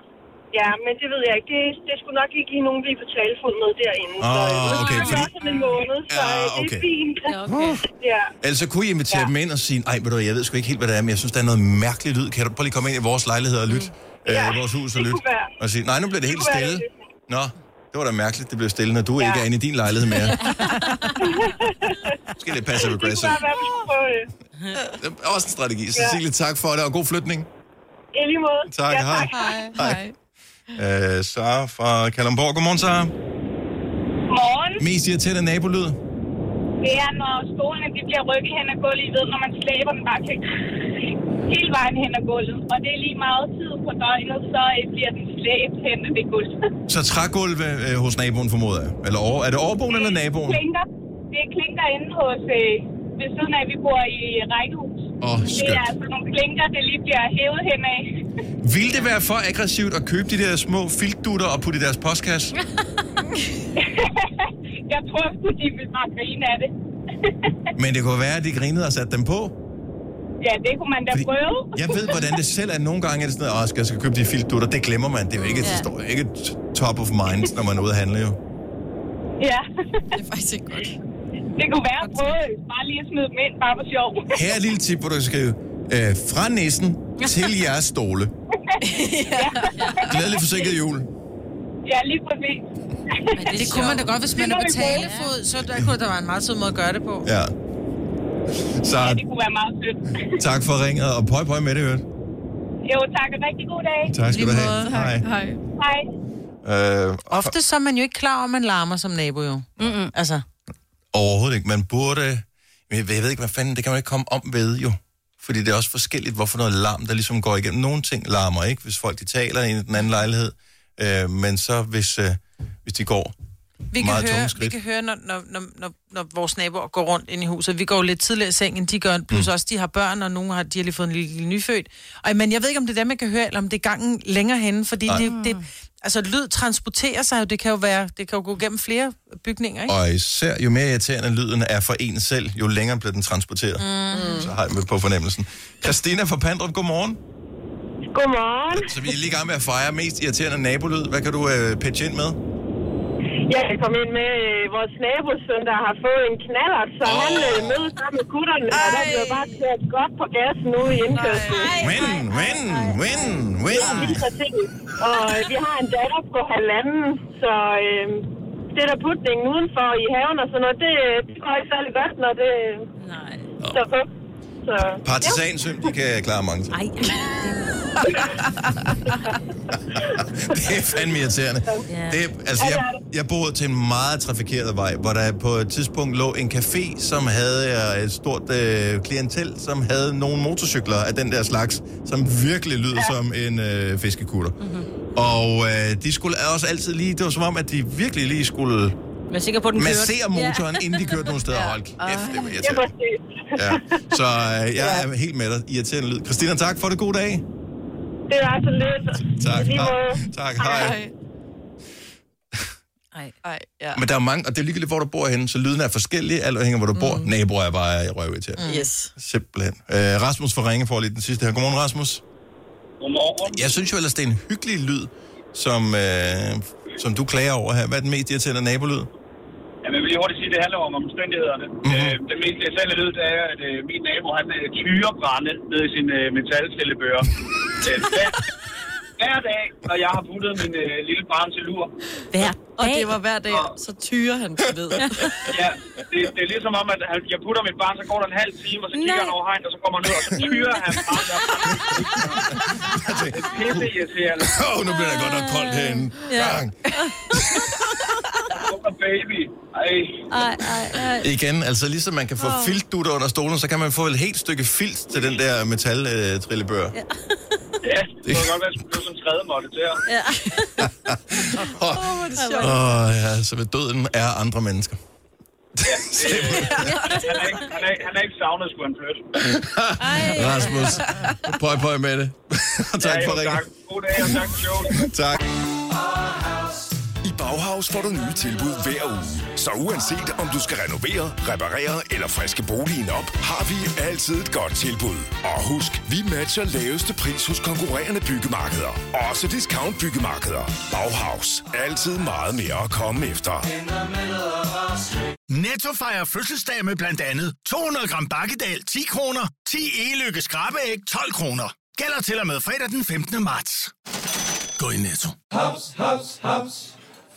Speaker 16: Ja, men det ved jeg ikke. Det, det skulle nok ikke give nogen, vi på talefod med derinde.
Speaker 1: Ah,
Speaker 16: så,
Speaker 1: okay,
Speaker 16: Det er
Speaker 1: fordi-
Speaker 16: sådan en måned, så
Speaker 1: Ah,
Speaker 16: øh, det
Speaker 1: okay.
Speaker 16: er fint. Ja, okay. ja.
Speaker 1: Altså kunne I invitere ja. dem ind og sige, nej, ved du, hvad, jeg ved sgu ikke helt, hvad det er, men jeg synes, der er noget mærkeligt lyd. Kan du prøve lige komme ind i vores lejlighed og lytte? Mm. Ja, øh, i vores hus og lytte? Og sige, nej, nu bliver det, helt
Speaker 16: kunne være
Speaker 1: stille. Nå, det var da mærkeligt, det blev stille, når du ja. ikke er inde i din lejlighed mere. Måske lidt passive
Speaker 16: Det kunne
Speaker 1: aggressive.
Speaker 16: bare være, vi skulle
Speaker 17: øh,
Speaker 16: prøve det.
Speaker 1: Det er også en strategi.
Speaker 16: Ja.
Speaker 1: Cecilie, tak for det, og god flytning.
Speaker 16: I lige måde.
Speaker 1: Tak,
Speaker 16: ja,
Speaker 1: hej. Hej. Øh, Sara fra Kalundborg. Godmorgen, Sara.
Speaker 18: Morgen.
Speaker 1: Mest irriterende nabolyd.
Speaker 18: Det er, når stolene de bliver rykket hen ad gulvet, I ved, når man slæber den bare til hele vejen hen ad gulvet. Og det er lige meget tid på døgnet, så øh, bliver den slæbt hen ad det gulv.
Speaker 1: Så trægulve øh, hos naboen, formoder jeg. Eller over, er det overboen eller naboen?
Speaker 18: Klinker. Det klinker inde hos, øh, ved siden af, vi bor i rækkehus.
Speaker 1: Åh,
Speaker 18: det er
Speaker 1: skønt.
Speaker 18: altså nogle klinker, det lige bliver hævet hen af.
Speaker 1: Vil det være for aggressivt at købe de der små filtdutter og putte i deres postkasse?
Speaker 18: jeg tror sgu, de vil bare grine af det.
Speaker 1: Men det kunne være, at de grinede og satte dem på.
Speaker 18: Ja, det kunne man da prøve.
Speaker 1: Jeg ved, hvordan det selv er. Nogle gange er det sådan, at jeg skal købe de filtdutter. Det glemmer man. Det er jo ikke,
Speaker 18: Ja.
Speaker 1: ja. står, ikke t- top of mind, når man er ude at handle. Jo.
Speaker 18: Ja. det er faktisk ikke godt. Det kunne være at prøve bare lige at smide dem ind, bare for sjov.
Speaker 1: Her er et lille tip, hvor du kan skrive. Øh, fra nissen til jeres stole.
Speaker 18: ja.
Speaker 1: Glædelig forsinket jul.
Speaker 18: ja, lige præcis.
Speaker 5: Men det, det kunne man da godt, hvis
Speaker 18: Det
Speaker 5: man er
Speaker 18: må
Speaker 5: på
Speaker 18: vi prøve.
Speaker 5: talefod, så der kunne der være en meget sød måde at gøre det på.
Speaker 1: Ja. Så
Speaker 18: Det kunne være meget sødt.
Speaker 1: tak for ringet, og pøj pøj med det, hørt.
Speaker 18: Jo, tak. og Rigtig god dag.
Speaker 1: Tak skal Lige du have. måde. Hej.
Speaker 5: Hej.
Speaker 18: Hej.
Speaker 1: Øh,
Speaker 5: Ofte så er man jo ikke klar over, at man larmer som nabo jo. Mm-mm. Altså,
Speaker 1: Overhovedet ikke. Man burde... Men Jeg ved jeg ved ikke, hvad fanden, det kan man ikke komme om ved jo. Fordi det er også forskelligt, hvorfor noget larm, der ligesom går igennem. Nogle ting larmer ikke, hvis folk de taler i den anden lejlighed. Øh, men så hvis, øh, hvis de går
Speaker 5: vi kan,
Speaker 1: meget tunge
Speaker 5: høre, vi
Speaker 1: skridt.
Speaker 5: kan høre, når, når, når, når, når vores naboer går rundt ind i huset. Vi går jo lidt tidligere i seng, end de gør, plus mm. også de har børn, og nogle har, de har lige fået en lille, lille nyfødt. Og, men jeg ved ikke, om det er dem, jeg kan høre, eller om det er gangen længere henne, fordi
Speaker 1: Nej.
Speaker 5: det, det, altså, lyd transporterer sig jo. Det kan jo, være, det kan jo gå gennem flere bygninger, ikke?
Speaker 1: Og især jo mere irriterende lyden er for en selv, jo længere bliver den transporteret. Mm. Så har jeg med på fornemmelsen. Christina fra Pandrup, godmorgen.
Speaker 19: Godmorgen.
Speaker 1: Så vi er lige i gang med at fejre mest irriterende nabolyd. Hvad kan du øh, pitche ind med?
Speaker 19: Jeg kan komme ind med øh, vores nabosøn, der har fået en knallert, så oh. han øh, mødes sammen med gutterne, Ej. og der blev bare kørt godt på gassen ude i indkørslen.
Speaker 1: Win, win, win,
Speaker 19: Ja,
Speaker 1: win.
Speaker 19: lige præcis. Og øh, vi har en datter på halvanden, så øh, det der putningen udenfor i haven og sådan noget, det, øh, det går ikke særlig godt, når det Nej. står på. Så,
Speaker 1: Partisansøm, de kan klare mange ting.
Speaker 19: Ej.
Speaker 1: Det er fandme irriterende.
Speaker 20: Ja.
Speaker 1: Det, altså, jeg, jeg boede til en meget trafikeret vej, hvor der på et tidspunkt lå en café, som havde øh, et stort øh, klientel, som havde nogle motorcykler af den der slags, som virkelig lyder ja. som en øh, fiskekutter. Mm-hmm. Og øh, de skulle også altid lige, det var som om, at de virkelig lige skulle
Speaker 10: Vær sikker på, at den kører.
Speaker 1: massere motoren,
Speaker 10: Ja.
Speaker 1: ja. inden de kørte nogen steder. Hold kæft, det var
Speaker 19: ja,
Speaker 1: irriterende.
Speaker 19: præcis.
Speaker 1: Ja. Så øh, jeg er helt med dig. Irriterende lyd. Christina, tak for det. God dag.
Speaker 19: Det var så lidt.
Speaker 1: Tak.
Speaker 19: Lige
Speaker 1: Hej.
Speaker 19: måde.
Speaker 1: Tak, hej.
Speaker 4: Ej. Ej, ja.
Speaker 1: Men der er mange, og det er ligegyldigt, hvor du bor henne, så lyden er forskellig, alt afhængig af, hvor du mm. bor. Naboer er bare røv til.
Speaker 4: Mm. Yes.
Speaker 1: Simpelthen. Øh, Rasmus fra Ringe får lige den sidste her. Godmorgen, Rasmus. Godmorgen. Jeg synes jo ellers, det er en hyggelig lyd, som, øh, som du klager over her. Hvad er den mest irriterende nabolyd?
Speaker 17: Jamen, jeg vil lige hurtigt sige, at det handler om omstændighederne. Mm. Øh, det mest irriterende lyd, det er, at øh, min nabo, han øh, tyrer brænde ned i sin øh, metalcellebøger. øh, hver, hver dag, når jeg har puttet min øh, lille barn til lur.
Speaker 4: Hver Og det var hver dag, så tyrer han til ved.
Speaker 17: Ja, det, det er ligesom om, at han, jeg putter mit barn, så går der en halv time, og så kigger
Speaker 4: Nej.
Speaker 17: han over hegnet, og så kommer han ned, og så tyrer han bare der. Pisse irriterende.
Speaker 1: Åh, oh, nu bliver det godt nok koldt herinde.
Speaker 17: Ja.
Speaker 1: Bang.
Speaker 17: baby. Ej.
Speaker 10: Ej, ej, ej.
Speaker 1: Igen, altså ligesom man kan få
Speaker 10: Åh.
Speaker 1: oh. filtdutter under stolen, så kan man få et helt stykke filt til den der metaltrillebør. Øh, ja.
Speaker 17: Ja, det kunne godt være, at jeg skulle blive som tredje måtte til ham.
Speaker 10: Ja.
Speaker 1: Åh, oh, ja, så ved døden er andre mennesker.
Speaker 17: Ja, det, han, er ikke, han, er, han er ikke savnet, skulle han flytte.
Speaker 1: Rasmus, prøv at prøve med det. Og tak
Speaker 17: Ja, jo,
Speaker 1: for ringen.
Speaker 17: tak. God dag, og tak for showet.
Speaker 1: Tak.
Speaker 12: I Bauhaus får du nye tilbud hver uge. Så uanset om du skal renovere, reparere eller friske boligen op, har vi altid et godt tilbud. Og husk, vi matcher laveste pris hos konkurrerende byggemarkeder. Også discount byggemarkeder. Bauhaus. Altid meget mere at komme efter.
Speaker 8: Netto fejrer fødselsdag med blandt andet 200 gram bakkedal 10 kroner, 10 e-lykke skrabeæg 12 kroner. Gælder til og med fredag den 15. marts.
Speaker 9: Gå i Netto. Haps, haps, haps.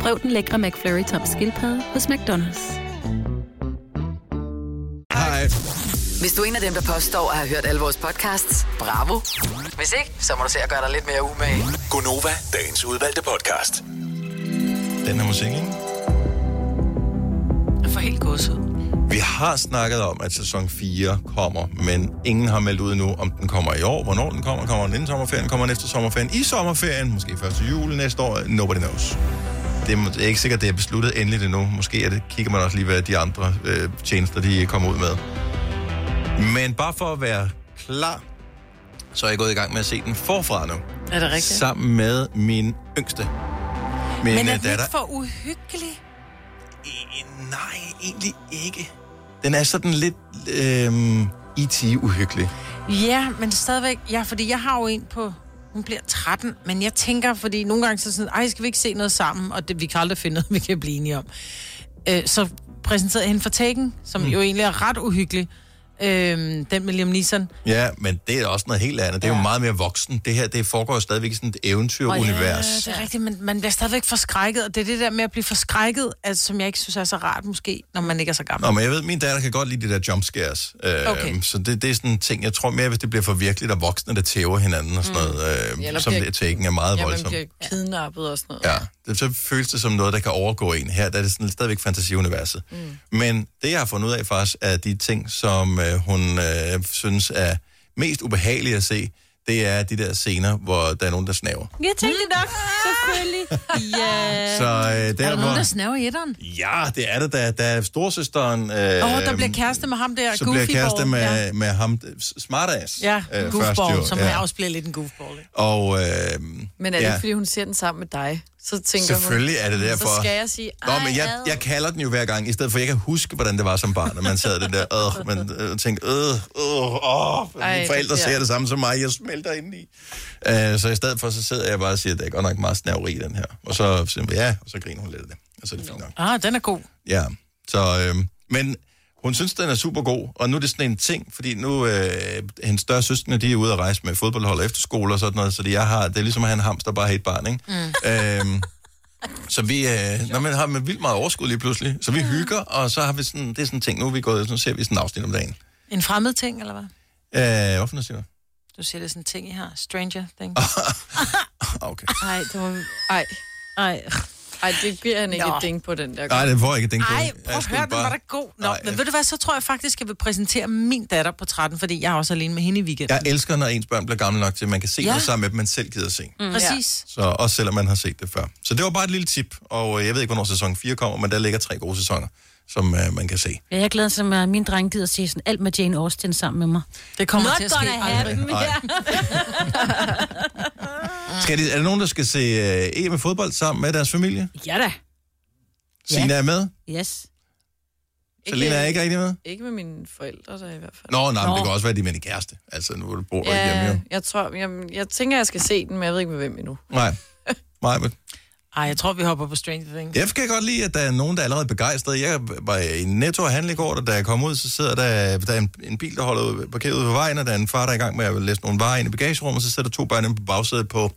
Speaker 21: Prøv den lækre McFlurry tom skildpadde hos McDonald's.
Speaker 1: Hej.
Speaker 6: Hvis du er en af dem, der påstår at have hørt alle vores podcasts, bravo. Hvis ikke, så må du se at gøre dig lidt mere umage.
Speaker 12: Gonova, dagens udvalgte podcast.
Speaker 1: Den her musik, ikke?
Speaker 5: Jeg får helt godset.
Speaker 1: Vi har snakket om, at sæson 4 kommer, men ingen har meldt ud nu, om den kommer i år, hvornår den kommer, kommer den inden sommerferien, kommer den efter sommerferien, i sommerferien, måske første jul næste år, nobody knows. Det er må- det er ikke sikkert, det er besluttet endeligt endnu. Måske er det, kigger man også lige, hvad de andre øh, tjenester, de kommer ud med. Men bare for at være klar, så er jeg gået i gang med at se den forfra nu.
Speaker 5: Er det rigtigt?
Speaker 1: Sammen med min yngste. Min
Speaker 5: Men er
Speaker 1: øh,
Speaker 5: den ikke for uhyggelig?
Speaker 1: Nej, egentlig ikke. Den er sådan lidt øh, IT-uhyggelig.
Speaker 5: Ja, men stadigvæk, ja, fordi jeg har jo en på, hun bliver 13, men jeg tænker, fordi nogle gange så er sådan, ej, skal vi ikke se noget sammen, og det, vi kan aldrig finde noget, vi kan blive enige om. Øh, så præsenterede jeg hende for Taken, som mm. jo egentlig er ret uhyggelig, øh, den med Liam Neeson.
Speaker 1: Ja, men det er også noget helt andet. Det er jo meget mere voksen. Det her, det foregår jo stadigvæk i sådan et eventyrunivers.
Speaker 5: Ja, det er rigtigt, men man bliver stadigvæk forskrækket, og det er det der med at blive forskrækket, altså, som jeg ikke synes er så rart måske, når man ikke er så gammel.
Speaker 1: Nå, men jeg ved, min datter kan godt lide de der jumpscares. Øh,
Speaker 5: Okay.
Speaker 1: Så det, det er sådan en ting, jeg tror mere, hvis det bliver for virkeligt, og voksne, der tæver hinanden og sådan noget, øh,
Speaker 4: Mm. Eller
Speaker 1: som
Speaker 4: bliver-
Speaker 1: det er taken, er meget
Speaker 4: ja, man
Speaker 1: voldsomt.
Speaker 4: bliver kidnappet og sådan noget.
Speaker 1: Ja, det, så føles det som noget, der kan overgå en. Her der er det sådan, stadigvæk fantasiuniverset. Mm. Men det, jeg har fundet ud af faktisk, er de ting, som øh, hun øh, synes er mest ubehagelige at se, det er de der scener, hvor der er nogen, der snaver.
Speaker 2: Jeg tænkte nok,
Speaker 5: Ah!
Speaker 2: selvfølgelig. Ja.
Speaker 1: Så øh,
Speaker 5: er
Speaker 1: der,
Speaker 5: der nogen, der
Speaker 1: hvor...
Speaker 5: snæver i etteren?
Speaker 1: Ja, det er det, der, der er storsøsteren... Øh,
Speaker 5: Åh, øh, oh, der bliver kæreste med ham der,
Speaker 1: så bliver
Speaker 5: Goofy
Speaker 1: kæreste
Speaker 5: Ball.
Speaker 1: med,
Speaker 5: Ja.
Speaker 1: med ham, s- smartass.
Speaker 5: Ja,
Speaker 1: øh, først
Speaker 5: goofball,
Speaker 1: jo,
Speaker 5: som
Speaker 1: ja.
Speaker 5: ja. også bliver lidt en goofball. Ikke?
Speaker 1: Og, øh,
Speaker 4: Men er det ikke, fordi hun ser den sammen med dig? Så tænker
Speaker 1: Selvfølgelig
Speaker 4: hun,
Speaker 1: er det derfor.
Speaker 4: Så skal jeg sige,
Speaker 1: Nå, men jeg, jeg kalder den jo hver gang, i stedet for, jeg kan huske, hvordan det var som barn, når man sad den der, øh, man øh, tænkte, øh, øh,
Speaker 12: Ej,
Speaker 1: åh, mine
Speaker 12: det bliver-
Speaker 1: forældre ser det samme som mig, jeg smelter indeni. Øh, så i stedet for, så sidder jeg bare og siger, der er godt nok meget snaveri i den her. Og så siger hun, ja, og så griner hun lidt af det. Og så er det fint nok.
Speaker 5: Ah, den er god.
Speaker 1: Ja, så, øh, men hun synes, den er super god, og nu er det sådan en ting, fordi nu, øh, hendes større søskende, de er ude at rejse med fodboldhold og efterskole og sådan noget, så de, jeg har, det er ligesom at have en hamster, bare have et barn, ikke? Mm. Øh, så vi øh, når man har med vildt meget overskud lige pludselig, så vi hygger, og så har vi sådan, det er sådan en ting, nu er vi gået, så ser vi sådan en afsnit om dagen.
Speaker 5: En fremmed ting, eller hvad?
Speaker 1: Øh, hvorfor nu siger du?
Speaker 5: Du siger, det er sådan en ting, I har. Stranger thing.
Speaker 1: okay.
Speaker 4: Ej, det var... Ej.
Speaker 2: Ej.
Speaker 4: Ej, det giver han ikke
Speaker 5: Nå.
Speaker 4: et ding på den der.
Speaker 1: Nej, det får jeg ikke den
Speaker 5: Ej, prøv at høre, den var da god. Nå,
Speaker 1: Nej,
Speaker 5: men
Speaker 1: jeg-
Speaker 5: ved du hvad, så tror jeg faktisk, jeg vil præsentere min datter på 13, fordi jeg er også alene med hende i weekenden.
Speaker 1: Jeg elsker, når ens børn bliver gamle nok til, at man kan se ja.
Speaker 5: Ja.
Speaker 1: det sammen med dem, man selv gider se.
Speaker 5: Mm. Præcis.
Speaker 1: Så også selvom man har set det før. Så det var bare et lille tip, og øh, jeg ved ikke, hvornår sæson 4 kommer, men der ligger tre gode sæsoner, som øh, man kan se.
Speaker 3: Ja, jeg glæder mig, at min dreng gider se sådan alt med Jane Austen sammen med mig.
Speaker 5: Det kommer
Speaker 3: Not
Speaker 5: til at ske
Speaker 3: gonna happen,
Speaker 1: aldrig. Nej.
Speaker 3: Ja.
Speaker 1: Skal de, er der nogen, der skal se øh, EM i fodbold sammen med deres familie?
Speaker 3: ja da.
Speaker 1: Ja. Sina er med?
Speaker 3: Yes.
Speaker 1: Selina er ikke rigtig med?
Speaker 4: Ikke med mine forældre, der i hvert fald.
Speaker 1: Nå, nej, men det kan også være, at de er med en kæreste. Altså, nu du bor ja. hjemme jo.
Speaker 4: jeg tror, jeg, jeg tænker, jeg skal se den, men jeg ved ikke med hvem endnu.
Speaker 1: Nej. Nej, men
Speaker 5: Ej, jeg tror, vi hopper på Stranger Things.
Speaker 1: jeg kan godt lide, at der er nogen, der er allerede begejstret. Jeg var i Netto og handle i går, og da jeg kom ud, så sidder der, der er en, en bil, der holder ud- parkeret ude på vejen, og der er en far, der er i gang med at læse nogle varer ind i bagagerummet, og så sidder der to børn inde på bagsædet på,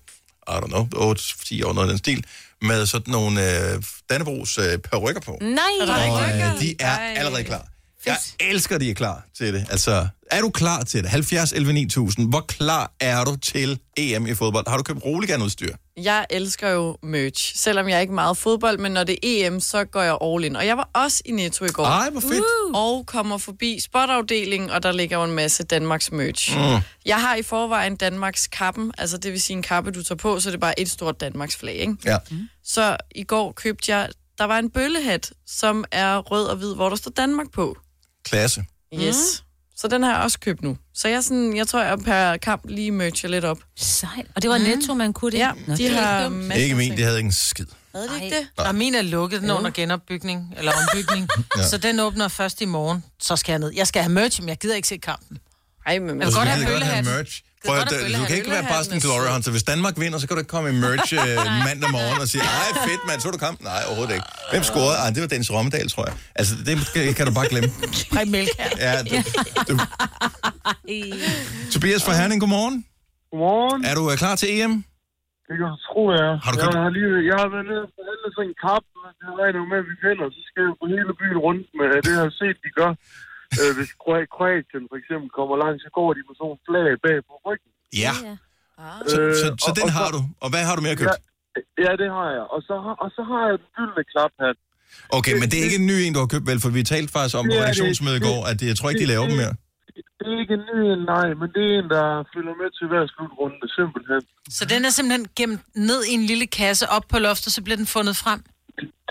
Speaker 1: I don't know, 8-10 år, noget af den stil, med sådan nogle øh, Dannebrogs øh, perukker på.
Speaker 3: Nej.
Speaker 1: Og øh, de er allerede klar. Jeg elsker, at I er klar til det. Altså, er du klar til det? 70 11 9000. Hvor klar er du til EM i fodbold? Har du købt roliganudstyr?
Speaker 4: Jeg elsker jo merch, selvom jeg er ikke er meget fodbold, men når det er EM, så går jeg all in. Og jeg var også i Netto i går.
Speaker 1: Ej, hvor fedt.
Speaker 4: Uh. Og kommer forbi spotafdelingen, og der ligger jo en masse Danmarks merch.
Speaker 1: Mm.
Speaker 4: Mm. Jeg har i forvejen Danmarks kappen, altså det vil sige en kappe, du tager på, så det er bare et stort Danmarks flag, ikke?
Speaker 1: Ja.
Speaker 4: Så i går købte jeg, der var en bøllehat, som er rød og hvid, hvor der står Danmark på.
Speaker 1: Klasse.
Speaker 4: Yes. Mm. Så den har jeg også købt nu. Så jeg, er sådan, jeg tror, jeg per kamp lige merger lidt op.
Speaker 3: Sejt. Og det var Netto, man kunne det?
Speaker 4: Ja,
Speaker 3: Nå,
Speaker 4: de
Speaker 3: det er
Speaker 4: har
Speaker 3: ikke dumt.
Speaker 4: masser
Speaker 1: Ikke
Speaker 4: af
Speaker 1: min,
Speaker 4: ting.
Speaker 1: det havde ikke en skid.
Speaker 4: Havde de ikke
Speaker 5: det? Og min er lukket, den er under genopbygning, eller ombygning.
Speaker 1: Ja.
Speaker 5: ja. Så den åbner først i morgen, så skal jeg ned. Jeg skal have merch, men jeg gider ikke se kampen.
Speaker 4: Ej, men
Speaker 5: jeg vil godt have
Speaker 1: kan Altså, godt have
Speaker 5: bøllehatten.
Speaker 1: merch. Prøv, at, du kan ikke være bare sådan en glory hunter. Hvis Danmark vinder, så kan du ikke komme i merch øh, mandag morgen og sige, ej fedt mand, så du kamp. Nej, overhovedet ikke. Hvem scorede? Ej, det var Dennis Rommedal, tror jeg. Altså, det kan- kan du bare glemme.
Speaker 5: Præg mælkær.
Speaker 1: Ja, du, du. Tobias fra Herning, godmorgen.
Speaker 22: Godmorgen.
Speaker 1: Er du øh, klar til EM?
Speaker 22: Det kan du tro, jeg er.
Speaker 1: Har du
Speaker 22: jeg,
Speaker 1: købt-
Speaker 22: har lige, jeg har været nede og forhandlet sådan en kap, men det regner jo med, at vi vinder. Så skal jeg jo på hele byen rundt med det, jeg har set, de gør. Øh, hvis Kro- Kroatien for eksempel kommer langt, så går de med sådan en flag bag på ryggen.
Speaker 1: Ja.
Speaker 4: Ah.
Speaker 1: Så,
Speaker 22: Øh,
Speaker 1: så, så
Speaker 22: og-
Speaker 1: den
Speaker 22: og
Speaker 1: har
Speaker 22: så-
Speaker 1: du. Og hvad har du mere købt?
Speaker 22: Ja, det har jeg. Og så har, og så har jeg den gyldne klaphat.
Speaker 1: Okay, men det er ikke en ny en, du har købt, vel? For vi talte faktisk om på
Speaker 22: Ja, det-
Speaker 1: redaktionsmødet i går, at det- jeg tror ikke, de laver dem mere.
Speaker 22: Det er ikke en ny en, nej, men det er en, der følger med til hver slutrunde, simpelthen.
Speaker 5: Så den er simpelthen gemt ned i en lille kasse op på loftet, så bliver den fundet frem.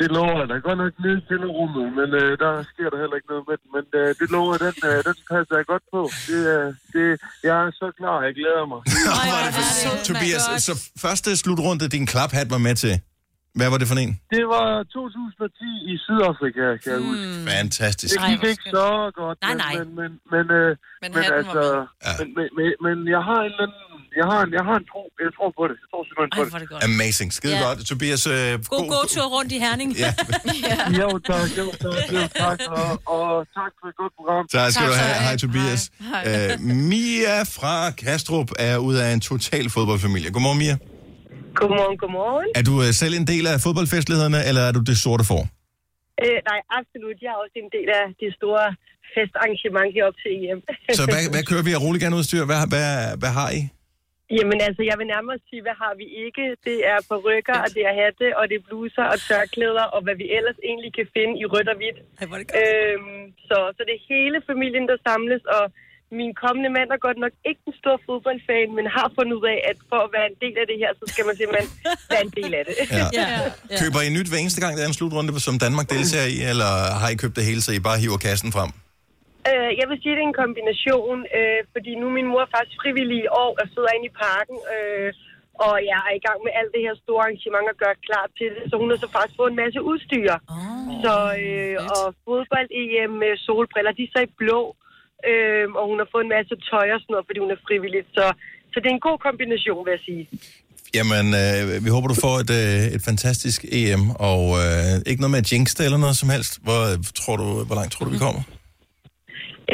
Speaker 22: Det lover jeg. Der er godt nok nede i kælderummet, men øh, der sker der heller ikke noget med den. Men øh, det lover jeg, den, øh, den passer jeg godt på. Det, øh, det, jeg er så klar, jeg glæder mig.
Speaker 1: Tobias, så første slutrunde, din klaphat var med til. Hvad var det for en?
Speaker 22: Det var 2010 i Sydafrika, kan jeg huske.
Speaker 1: Hmm. Fantastisk.
Speaker 22: Det gik ikke så godt, nej, nej. men, men, men, øh, men, men
Speaker 1: hatten var
Speaker 22: altså, men, men, men, men, jeg har en eller anden, jeg har en, jeg har en tro, jeg tror på det, jeg tror simpelthen på det.
Speaker 1: Amazing. Skide
Speaker 22: Ja.
Speaker 1: godt. Tobias, øh,
Speaker 3: God gåtur rundt i Herning.
Speaker 1: Ja.
Speaker 22: Jo tak, jo tak, jo tak, og, og tak for et godt program.
Speaker 1: Tak skal du have. Hej, Tobias.
Speaker 22: Hej.
Speaker 1: Hej. Øh, Mia fra Kastrup er ud af en total fodboldfamilie. Godmorgen, Mia.
Speaker 19: Godmorgen, godmorgen.
Speaker 1: Er du øh, selv en del af fodboldfestlighederne, eller er du det sorte for?
Speaker 19: Øh, nej, absolut. Jeg er også en del af det store festarrangement heroppe til E EM.
Speaker 1: Så hvad, hvad kører vi af roliganudstyr? Hvad, hvad, hvad har I?
Speaker 19: Jamen altså, jeg vil nærmere sige, hvad har vi ikke? Det er perukker, og det er hatte, og det er bluser og tørklæder, og hvad vi ellers egentlig kan finde i rødt og hvidt. Øhm, så, så det er hele familien, der samles, og min kommende mand er godt nok ikke en stor fodboldfan, men har fundet ud af, at for at være en del af det her, så skal man simpelthen være en del af det.
Speaker 1: Ja. Køber I nyt hver eneste gang, der er en slutrunde, som Danmark deltager i, eller har I købt det hele, så I bare hiver kassen frem?
Speaker 19: Øh, jeg vil sige, at det er en kombination, øh, fordi nu er min mor faktisk frivillig i år og sidder inde i parken, øh, og jeg er i gang med alt det her store arrangement og gøre klar til det, så hun har så faktisk fået en masse udstyr. Oh, så, øh, og fodbold-EM med solbriller, de er så i blå, øh, og hun har fået en masse tøj og sådan noget, fordi hun er frivillig. Så, så det er en god kombination, vil jeg sige.
Speaker 1: Jamen, øh, vi håber, du får et, øh, et fantastisk EM, og øh, ikke noget med at jinx det eller noget som helst. Hvor, øh, tror du, hvor langt tror du, vi kommer?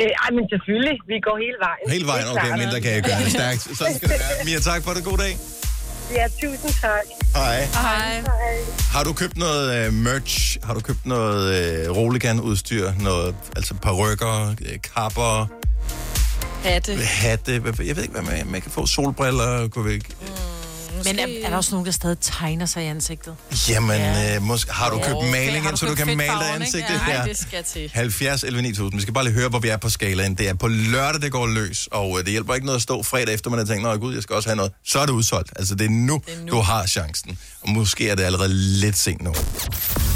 Speaker 19: Øh, ej, men selvfølgelig, vi går hele vejen.
Speaker 1: Hele vejen,
Speaker 19: Det er
Speaker 1: okay,
Speaker 19: klart.
Speaker 1: mindre kan jeg gøre det stærkt. Sådan skal det være. Mia, tak for det. God dag.
Speaker 19: Ja, tusind tak.
Speaker 1: Hej.
Speaker 19: Hej. Hej.
Speaker 1: Har du købt noget øh, merch? Har du købt noget øh, Roligan-udstyr? Noget, altså parrykker, øh, kapper,
Speaker 4: Hatte.
Speaker 1: hatte? Hvad- Jeg ved ikke, hvad man, man kan få. Solbriller, kunne vi ikke?
Speaker 5: Men er, er der også nogen, der stadig tegner sig i ansigtet?
Speaker 1: Jamen, øh, måske, har du
Speaker 5: Åh,
Speaker 1: købt
Speaker 5: okay.
Speaker 1: maling,
Speaker 5: Har du
Speaker 1: ind, så du
Speaker 5: købt
Speaker 1: kan male dig i
Speaker 5: fedtfarven, ikke?
Speaker 1: ansigtet?
Speaker 5: Ja,
Speaker 1: Ja.
Speaker 5: ej, det skal til.
Speaker 1: 70 11 9000. Vi skal bare lige høre, hvor vi er på skalaen. Det er på lørdag, det går løs, og øh, det hjælper ikke noget at stå fredag eftermiddag og tænke, nej gud, jeg skal også have noget. Så er det udsolgt. Altså, det er nu, det er nu. du har chancen. Og måske er det allerede lidt sent nu.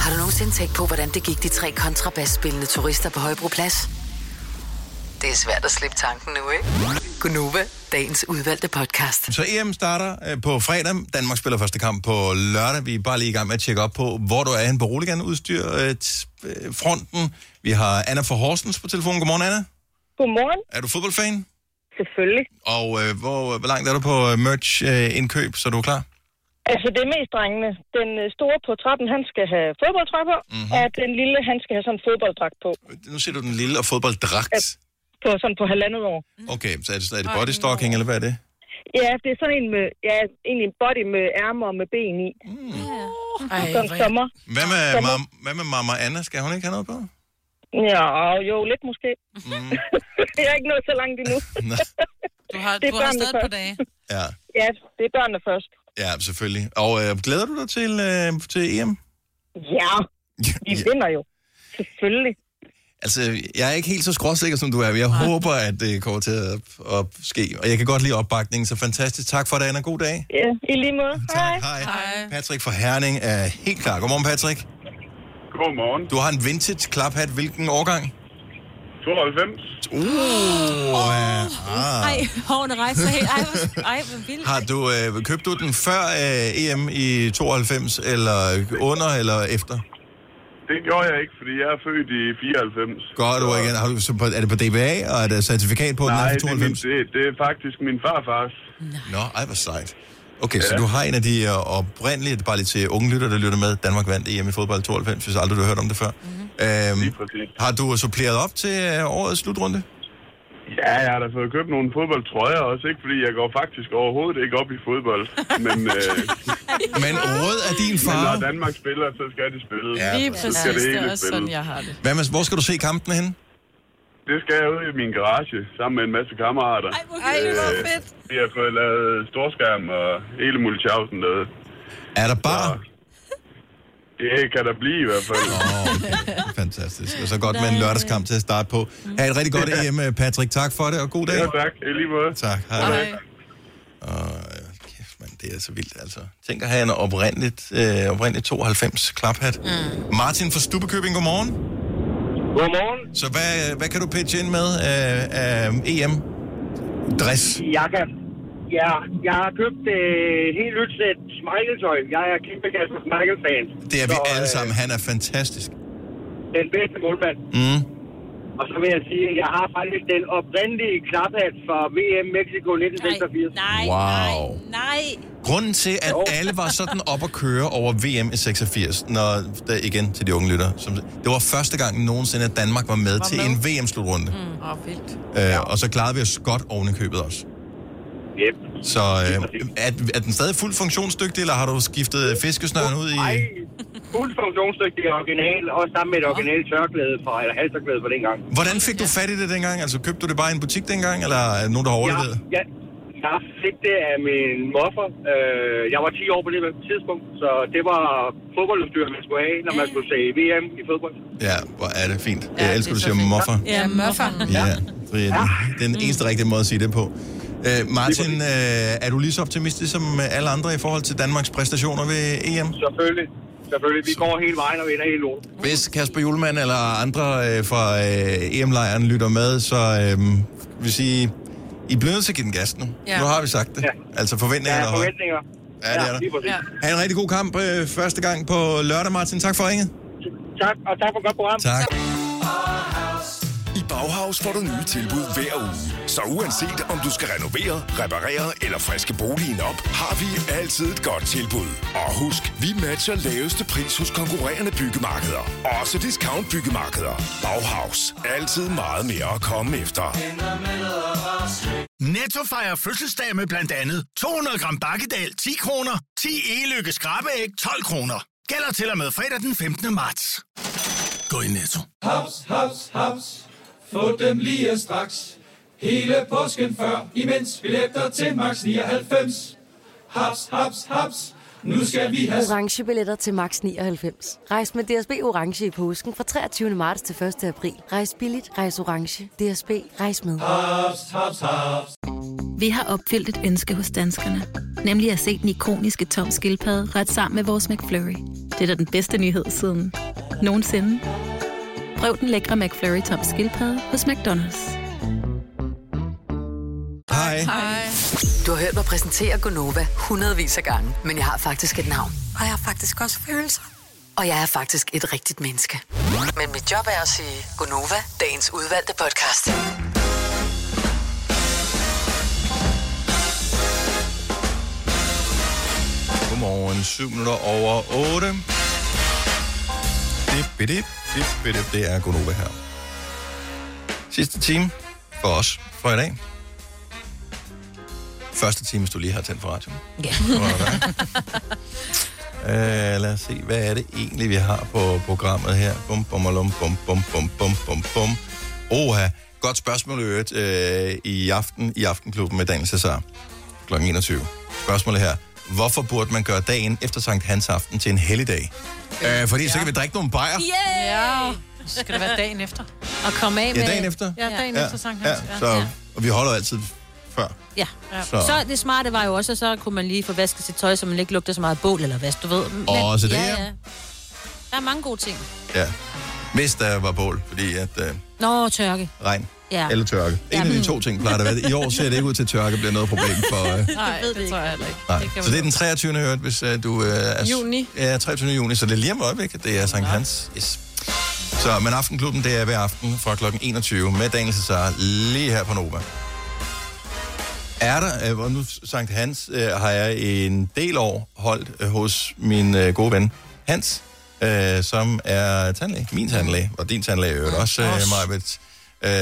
Speaker 6: Har du nogensinde tænkt på, hvordan det gik de tre kontrabasspillende turister på Højbroplads? Det er svært at slippe tanken nu, ikke? Gunova, dagens udvalgte podcast.
Speaker 1: Så EM starter øh, på fredag. Danmark spiller første kamp på lørdag. Vi er bare lige i gang med at tjekke op på, hvor du er henne på Roligan udstyr øh, t- øh, fronten. Vi har Anna fra Horsens på telefonen. Godmorgen, Anna.
Speaker 19: Godmorgen.
Speaker 1: Er du fodboldfan?
Speaker 19: Selvfølgelig.
Speaker 1: Og øh, hvor, hvor langt er du på øh, merch-indkøb, så du er klar?
Speaker 19: Altså, det er mest drengene. Den øh, store på trappen, han skal have fodboldtrøje på,
Speaker 1: Mhm.
Speaker 19: mm-hmm. og den lille, han skal have sådan en fodbolddragt på,
Speaker 1: Nu ser du den lille og fodbolddragt.
Speaker 19: på sådan på halvandet år.
Speaker 1: Okay, så er det, er det bodystocking, eller hvad er det?
Speaker 19: Ja, det er sådan en med, ja, egentlig en body med ærmer og med ben i. Mm. Sådan
Speaker 1: hvor-
Speaker 19: sommer.
Speaker 1: Hvad med, mam, hvad med mamma Anna? Skal hun ikke have noget på?
Speaker 18: Ja, jo, lidt måske. Mm. jeg er ikke nået så langt endnu.
Speaker 5: Du har,
Speaker 18: Det er
Speaker 5: du har
Speaker 18: børnene
Speaker 5: stadig på
Speaker 18: først.
Speaker 5: dage.
Speaker 1: Ja,
Speaker 18: ja, det er børnene først.
Speaker 1: ja selvfølgelig. Og øh, glæder du dig til, øh, til EM?
Speaker 18: Ja,
Speaker 1: de
Speaker 18: vinder jo. Selvfølgelig.
Speaker 1: Altså, jeg er ikke helt så skråsikker, som du er. men Jeg håber, at det kommer til at, at ske. Og jeg kan godt lide opbakningen, så fantastisk. Tak for det, Anna. God dag.
Speaker 18: Ja, i lige måde. Hej.
Speaker 1: Hej. Patrick fra Herning er helt klar. Godmorgen, Patrick.
Speaker 23: Godmorgen.
Speaker 1: Du har en vintage klaphat. Hvilken årgang?
Speaker 23: 92.
Speaker 1: Uh, oh, ja. ah.
Speaker 3: Ej, hårene rejser sig helt. Ej, hvor, ej, hvor vildt.
Speaker 1: Har du øh, købt du den før øh, EM i 92, eller under, eller efter?
Speaker 23: Det gjorde jeg ikke, fordi jeg er født i 94.
Speaker 1: Godt, du igen. Har du, så på, er det på DBA, og er der certifikat på, at den
Speaker 23: Nej,
Speaker 1: er
Speaker 23: det
Speaker 1: fra
Speaker 23: er, min,
Speaker 1: 92?
Speaker 23: det, det er faktisk min farfars.
Speaker 1: Nå, ej, hvor sejt. Okay, så du har en af de øh, oprindelige, det er bare lige til unge lytter, der lytter med, Danmark vandt EM i fodbold 92, hvis aldrig du har hørt om det før. Mm-hmm. Øhm, har du suppleret op til øh, årets slutrunde?
Speaker 23: Ja, jeg har da fået købt nogle fodboldtrøjer også, ikke? Fordi jeg går faktisk overhovedet ikke op i fodbold. Men, øh,
Speaker 1: men rød er din
Speaker 23: farve. når Danmark spiller, så skal de spille.
Speaker 1: Ja,
Speaker 4: Lige
Speaker 23: så
Speaker 4: præcis,
Speaker 23: skal det,
Speaker 4: det
Speaker 23: hele
Speaker 4: er også
Speaker 23: spille.
Speaker 4: sådan, jeg har det.
Speaker 1: Hvad med, hvor skal du se kampen henne?
Speaker 23: Det skal jeg ud i min garage, sammen med en masse kammerater. Ej,
Speaker 4: Ej, hvor
Speaker 1: Øh,
Speaker 4: fedt.
Speaker 23: Vi har fået lavet storskærm og hele muligheden derude.
Speaker 1: Er der bar?
Speaker 23: Det kan der blive i hvert fald.
Speaker 1: Fantastisk. Og så godt med en lørdagskamp til at starte på. Ha' et rigtig godt EM, øh, Patrick. Tak for det, og god dag.
Speaker 23: Ja, tak. I lige måde.
Speaker 1: Tak. Hej. Hej. Og, øh, kæft, man, det er så vildt, altså. Tænk at have en oprindeligt, øh, oprindeligt 92 klaphat. Mm. Martin fra Stubekøbing, godmorgen.
Speaker 24: Godmorgen.
Speaker 1: Så hvad, hvad kan du pitche ind med øh, af EM? Dress.
Speaker 24: Jeg kan... Ja, jeg har købt øh, helt nyt sæt Michael-tøj. Jeg er kæmpe Kasper Michael-fan.
Speaker 1: Det er vi alle sammen. Han er fantastisk.
Speaker 24: Den bedste målmand.
Speaker 1: Mm.
Speaker 24: Og så vil jeg sige, at jeg har faktisk den oprindelige klaphat fra VM Mexico 1986.
Speaker 3: Nej,
Speaker 1: Wow.
Speaker 3: nej.
Speaker 1: Grunden til, at alle var sådan op at køre over VM i 86, når, der, igen til de unge lytter, som, det var første gang nogensinde, at Danmark var med var til med. en VM-slutrunde. Mm.
Speaker 4: Åh, oh, vildt.
Speaker 1: Øh, og så klarede vi os godt oven i købet også.
Speaker 24: Yep.
Speaker 1: Så øh, er, er den stadig fuldt funktionsdygtig, eller har du skiftet fiskesnøren ud i...
Speaker 24: Nej, fuldt funktionsdygtig original, og sammen med et originalt tørklæde fra, eller halsterklæde fra dengang.
Speaker 1: Hvordan fik du fat i det dengang? Altså, købte du det bare i en butik dengang, eller er der nogen, der har overlevet?
Speaker 24: Jeg, jeg, jeg fik det af min morfar. Øh, jeg var 10 år på det tidspunkt, så det var fodboldudstyr, man skulle have, når man skulle se VM i fodbold.
Speaker 1: Ja. ja, hvor er det fint. Jeg elsker, du siger moffer.
Speaker 24: Ja, morfar.
Speaker 1: Ja, Mm. det er den, den eneste rigtige måde at sige det på. Øh, Martin, øh, er du lige så optimistisk som øh, alle andre i forhold til Danmarks præstationer ved EM?
Speaker 24: Selvfølgelig. Selvfølgelig. Vi går hele vejen og vinder hele lortet.
Speaker 1: Hvis Kasper Julemand eller andre øh, fra øh, EM-lejren lytter med, så øh, vil sige, I bliver nødt til at give den gas nu.
Speaker 24: Ja.
Speaker 1: Ja. Nu har vi sagt det. Ja. Altså forventningerne
Speaker 24: Ja,
Speaker 1: er høje.
Speaker 24: forventninger.
Speaker 1: Ja, det er der.
Speaker 24: lige præcis.
Speaker 1: Ha' en rigtig god kamp øh, første gang på lørdag, Martin. Tak for ringet.
Speaker 24: Tak, og tak for godt program.
Speaker 1: Tak.
Speaker 12: I Bauhaus får du nye tilbud hver uge. Så uanset om du skal renovere, reparere eller friske boligen op, har vi altid et godt tilbud. Og husk, vi matcher laveste pris hos konkurrerende byggemarkeder. Også discount byggemarkeder. Bauhaus. Altid meget mere at komme efter.
Speaker 8: Netto fejrer fødselsdag med blandt andet 200 gram bakkedal 10 kroner, 10 e-lykke skrabeæg 12 kroner. Gælder til og med fredag den 15. marts. Gå i Netto.
Speaker 9: Haps, haps, haps. Få dem lige straks. Hele påsken før, imens billetter til max 99. Haps, haps, haps. Nu skal vi have
Speaker 10: orange billetter til max 99. Rejs med DSB orange i påsken fra 23. marts til 1. april. Rejs billigt, rejs orange. DSB rejs med.
Speaker 9: haps, haps, haps.
Speaker 21: Vi har opfyldt et ønske hos danskerne. Nemlig at se den ikoniske tom skildpadde ret sammen med vores McFlurry. Det er da den bedste nyhed siden nogensinde. Prøv den lækre McFlurry tom skildpadde hos McDonald's.
Speaker 1: Hej.
Speaker 21: Hej.
Speaker 6: Du har hørt mig præsentere Gonova hundredvis af gange, men jeg har faktisk et navn.
Speaker 25: Og jeg har faktisk også følelser.
Speaker 6: Og jeg er faktisk et rigtigt menneske. Men mit job er at sige Gonova, dagens udvalgte podcast.
Speaker 1: Godmorgen, 7 minutter over 8. Dip, bidip, dip, bidip. Det er Gunova her. Sidste time for os for i dag. Første time, hvis du lige har tændt for radioen.
Speaker 2: Ja.
Speaker 1: Det var der. Øh, lad os se, hvad er det egentlig, vi har på programmet her? Bum, bum, alum, bum, bum, bum, bum, bum, bum. Oha, godt spørgsmål i øvrigt øh, i aften i Aftenklubben med Daniel Cesar kl. 21. Spørgsmålet her. Hvorfor burde man gøre dagen efter Sankt Hans aften til en helligdag? Øh, fordi ja. så kan vi drikke nogle bajer.
Speaker 2: Yeah! Ja. Så skal det være dagen efter. Og komme af
Speaker 1: Ja,
Speaker 2: med...
Speaker 1: dagen efter.
Speaker 2: Ja, dagen
Speaker 1: ja,
Speaker 2: efter Sankt Hans.
Speaker 1: Ja, så, og vi holder jo altid før.
Speaker 3: Ja.
Speaker 1: Ja.
Speaker 3: ja. Så. så det smarte var jo også, at så kunne man lige få vasket sit tøj, så man ikke lugter så meget af bål eller vask, du ved. Men,
Speaker 1: Også det,
Speaker 3: ja,
Speaker 1: ja.
Speaker 3: ja. Der er mange gode ting.
Speaker 1: Ja. Hvis der var bål, fordi at øh,
Speaker 3: Nå, tørke.
Speaker 1: regn
Speaker 3: Ja.
Speaker 1: ja. eller tørke. En af de to ting plejer det at være. I år ser det ikke ud til, at tørke bliver noget problem for... Øh,
Speaker 4: Nej, det, det tror jeg heller ikke.
Speaker 1: Nej. så det er den 23. hørt, hvis uh, du uh, er...
Speaker 4: Juni.
Speaker 1: Ja, 23. juni, så det er lige om et øjeblik, at det er Sankt Hans. Yes. Så, men Aftenklubben, det er hver aften fra kl. 21 med Daniel Cesar lige her på Nova. Er der, øh, hvor nu Sankt Hans øh, har jeg en del år holdt øh, hos min øh, gode ven Hans, øh, som er tandlæge, min tandlæge, og din tandlæge er jo også, øh,
Speaker 7: Os.
Speaker 1: Majbet. Øh, og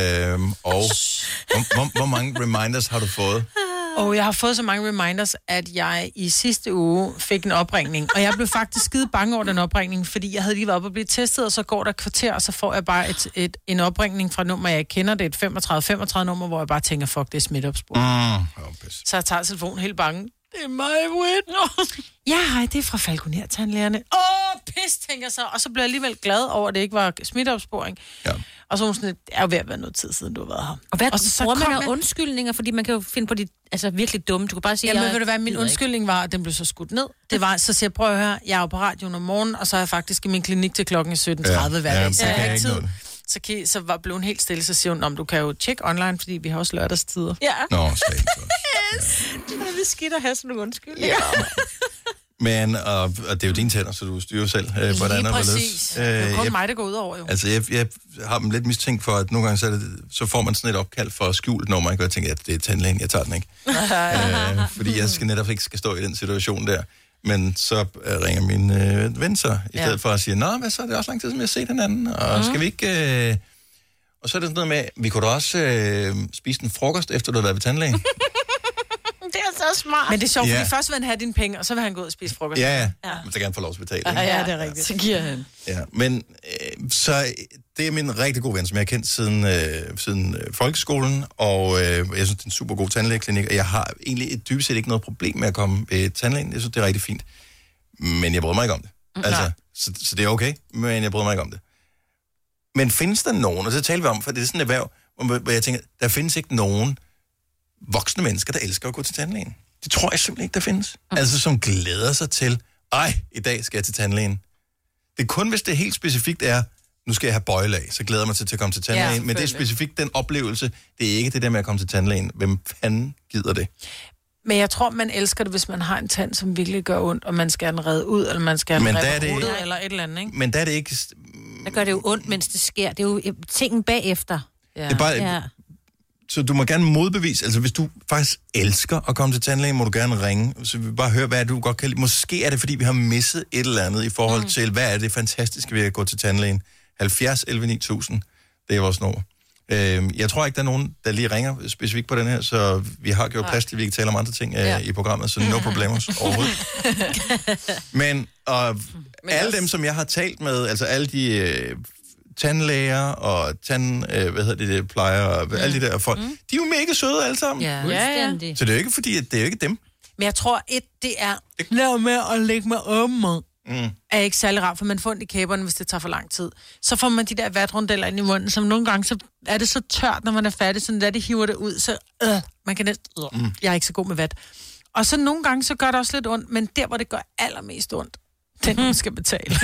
Speaker 1: hvor, hvor, hvor mange reminders har du fået?
Speaker 5: Og jeg har fået så mange reminders, at jeg i sidste uge fik en opringning. Og jeg blev faktisk skide bange over den opringning, fordi jeg havde lige været oppe og blive testet, og så går der et kvarter, og så får jeg bare et, et, en opringning fra et nummer, jeg ikke kender. Det er et 35-35 nummer, hvor jeg bare tænker, fuck, det er smitteopspor.
Speaker 1: Mm.
Speaker 5: Så jeg tager telefonen helt bange. Det er mig, Whitney. Ja, hej, det er fra Falconer-tandlægerne. Åh, pis, tænker jeg så. Og så blev jeg alligevel glad over, at det ikke var smitteopsporing.
Speaker 1: Ja.
Speaker 5: Og så var hun sådan, lidt, det er jo ved at være noget tid siden, du har været her.
Speaker 3: Og hvad
Speaker 5: og
Speaker 3: og
Speaker 5: så,
Speaker 3: bruger man
Speaker 5: kom
Speaker 3: af
Speaker 5: jeg-
Speaker 3: undskyldninger? Fordi man kan jo finde på de altså, virkelig dumme. Du kan bare sige,
Speaker 5: Jamen,
Speaker 3: jeg
Speaker 5: ved du hvad, min
Speaker 3: gider ikke.
Speaker 5: undskyldning var, at den blev så skudt ned. Det var, så siger jeg, prøv at høre, jeg er jo på radioen om morgenen, og så er jeg faktisk i min klinik til klokken 17.30 hver
Speaker 1: Ja,
Speaker 5: dag,
Speaker 1: ja,
Speaker 5: så
Speaker 1: det
Speaker 5: jeg
Speaker 1: kan
Speaker 5: har ikke
Speaker 1: ikke
Speaker 5: tid.
Speaker 1: noget.
Speaker 5: Så, kan, så var, blev hun helt stille, så siger hun, om du kan jo tjekke online, fordi vi har også lørdagstider.
Speaker 3: Ja.
Speaker 1: Nå, så
Speaker 3: Yes! Det er lidt skidt at have sådan nogle undskyldninger. Ja.
Speaker 1: Men, og, og det er jo dine tænder, så du styrer selv, øh, hvordan
Speaker 5: Lige
Speaker 1: og hvorledes.
Speaker 5: præcis. Øh, det er jo kun
Speaker 1: jeg,
Speaker 5: mig, der går ud over, jo.
Speaker 1: Altså, jeg, jeg har dem lidt mistænkt for, at nogle gange så, er det, så får man sådan et opkald for skjult nummer, ikke? og jeg tænker, at det er tandlægen, jeg tager den ikke. øh, fordi jeg skal netop ikke skal stå i den situation der. Men så øh, ringer min øh, ven så, i
Speaker 7: Ja.
Speaker 1: stedet for at sige, nå, hvad så, det er også lang tid, som jeg har set hinanden, og
Speaker 7: Mhm.
Speaker 1: skal vi ikke... Øh... Og så er det sådan noget med, vi kunne da også øh, spise en frokost, efter du har været ved tandlægen.
Speaker 5: Det er så smart. Men det er sjovt,
Speaker 1: Ja.
Speaker 5: fordi først vil han have dine penge, og så vil han gå ud og spise frokost.
Speaker 1: ja, ja, men så kan han få lov til at
Speaker 5: Ja,
Speaker 1: betale. ikke?
Speaker 5: ja, det er rigtigt. Så giver han.
Speaker 1: Ja, men øh, så øh, det er min rigtig gode ven, som jeg har kendt siden, øh, siden øh, folkeskolen, og øh, jeg synes, det er en super god tandlægeklinik, og jeg har egentlig et- dybest set ikke noget problem med at komme ved tandlægen. Jeg synes, det er rigtig fint, men jeg bryder mig ikke om det.
Speaker 7: Mm,
Speaker 1: Altså,
Speaker 7: nej.
Speaker 1: så, så det er okay, men jeg bryder mig ikke om det. Men findes der nogen, og det taler vi om, for det er sådan et erhverv, hvor- hvor jeg tænker, der findes ikke nogen voksne mennesker, der elsker at gå til tandlægen. Det tror jeg simpelthen ikke, der findes.
Speaker 5: Mm.
Speaker 1: Altså, som glæder sig til, ej, i dag skal jeg til tandlægen. Det er kun, hvis det helt specifikt er, nu skal jeg have bøjlag, så glæder jeg mig til, til at komme til tandlægen. Ja, men det er
Speaker 5: selvfølgelig.
Speaker 1: specifikt den oplevelse. Det er ikke det der med at komme til tandlægen. Hvem fanden gider det?
Speaker 5: Men jeg tror, man elsker det, hvis man har en tand, som virkelig gør ondt, og man skal have den reddet ud, eller man skal have
Speaker 1: Men
Speaker 5: den
Speaker 1: der er det-
Speaker 5: reddet det... eller et eller andet, ikke?
Speaker 1: Men der er det ikke...
Speaker 3: Der gør det jo ondt, mens det sker. Det er jo øh, tingen bagefter. Ja.
Speaker 1: Det er bare-
Speaker 3: ja.
Speaker 1: Så du må gerne modbevise, altså hvis du faktisk elsker at komme til tandlægen, må du gerne ringe, så vi vil bare høre, hvad er det, du godt kan lide. Måske er det, fordi vi har misset et eller andet i forhold
Speaker 7: Mm.
Speaker 1: mm. til, hvad er det fantastiske ved at gå til tandlægen. 70 11 9000, det er vores nummer. Øhm, jeg tror ikke, der er nogen, der lige ringer specifikt på den her, så vi har gjort plads til, at vi kan tale om andre ting øh,
Speaker 7: Ja.
Speaker 1: i programmet, så no problemers overhovedet. Men, og alle dem, som jeg har talt med, altså alle de øh, tandlæger og tand, øh, hvad hedder det, det, plejer og mm. alle de der folk, mm. de er jo mega søde alle sammen.
Speaker 5: Ja. Fuldstændig.
Speaker 1: Så det er jo ikke fordi, at det er jo ikke dem. Mm.
Speaker 5: Men jeg tror, et, det er, lad med at lægge mig om
Speaker 1: Mm.
Speaker 5: er ikke særlig rart, for man får ondt i kæberne, hvis det tager for lang tid. Så får man de der vatrundeller ind i munden, som nogle gange så er det så tørt, når man er færdig, så når det hiver det ud, så øh, man kan næsten, øh,
Speaker 1: Mm.
Speaker 5: jeg er ikke så god med vat. Og så nogle gange, så gør det også lidt ondt, men der, hvor det gør allermest ondt, den man skal betale.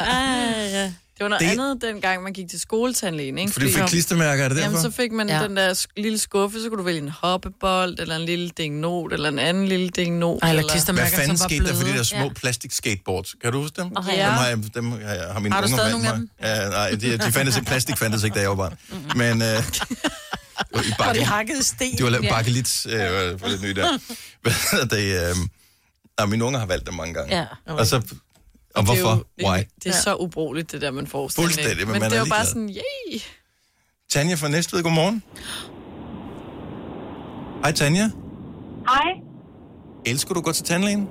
Speaker 4: Ah, ja. Det var noget
Speaker 1: Det-
Speaker 4: det... andet, dengang man gik til skoletandlægen, ikke?
Speaker 1: Fordi du fik klistermærker, er det
Speaker 4: Jamen,
Speaker 1: derfor?
Speaker 4: så fik man
Speaker 1: Ja.
Speaker 4: ja. den der sk- lille skuffe, så kunne du vælge en hoppebold, eller en lille dingnot, eller en anden lille dingnot.
Speaker 5: Ej, eller
Speaker 1: Hvad
Speaker 5: klistermærker,
Speaker 1: fanden
Speaker 5: som var
Speaker 1: skete der for de
Speaker 5: bløde?
Speaker 1: der små
Speaker 5: Ja.
Speaker 1: ja. plastik-skateboards? Kan du huske dem?
Speaker 5: Åh, ja.
Speaker 1: Dem har, jeg, dem har, jeg, har mine
Speaker 5: Har du
Speaker 1: unger
Speaker 5: stadig
Speaker 1: valgt
Speaker 5: nogle af
Speaker 1: mig. Ja, nej, de, de fandtes ikke. Plastik fandtes ikke, da jeg var barn. Men øh, det var i
Speaker 5: Hvor de
Speaker 1: bakke-
Speaker 5: hakkede sten.
Speaker 1: De var lavet
Speaker 5: Ja.
Speaker 1: bakkelit øh, for lidt nyt der. Hvad hedder det? Øh, nej, mine unger har valgt dem mange gange.
Speaker 4: Ja.
Speaker 1: Og, så, og
Speaker 4: Det er
Speaker 1: hvorfor?
Speaker 4: Jo,
Speaker 1: Why?
Speaker 4: Det er så ubrugeligt, det der, man får.
Speaker 1: Fuldstændig, men
Speaker 4: men
Speaker 1: man
Speaker 4: det
Speaker 1: er
Speaker 4: var bare
Speaker 1: ligeglad.
Speaker 4: sådan, yay!
Speaker 1: Tanja fra Næstved, godmorgen. Hej Tanja.
Speaker 11: Hej.
Speaker 1: Elsker du at gå til tandlægen?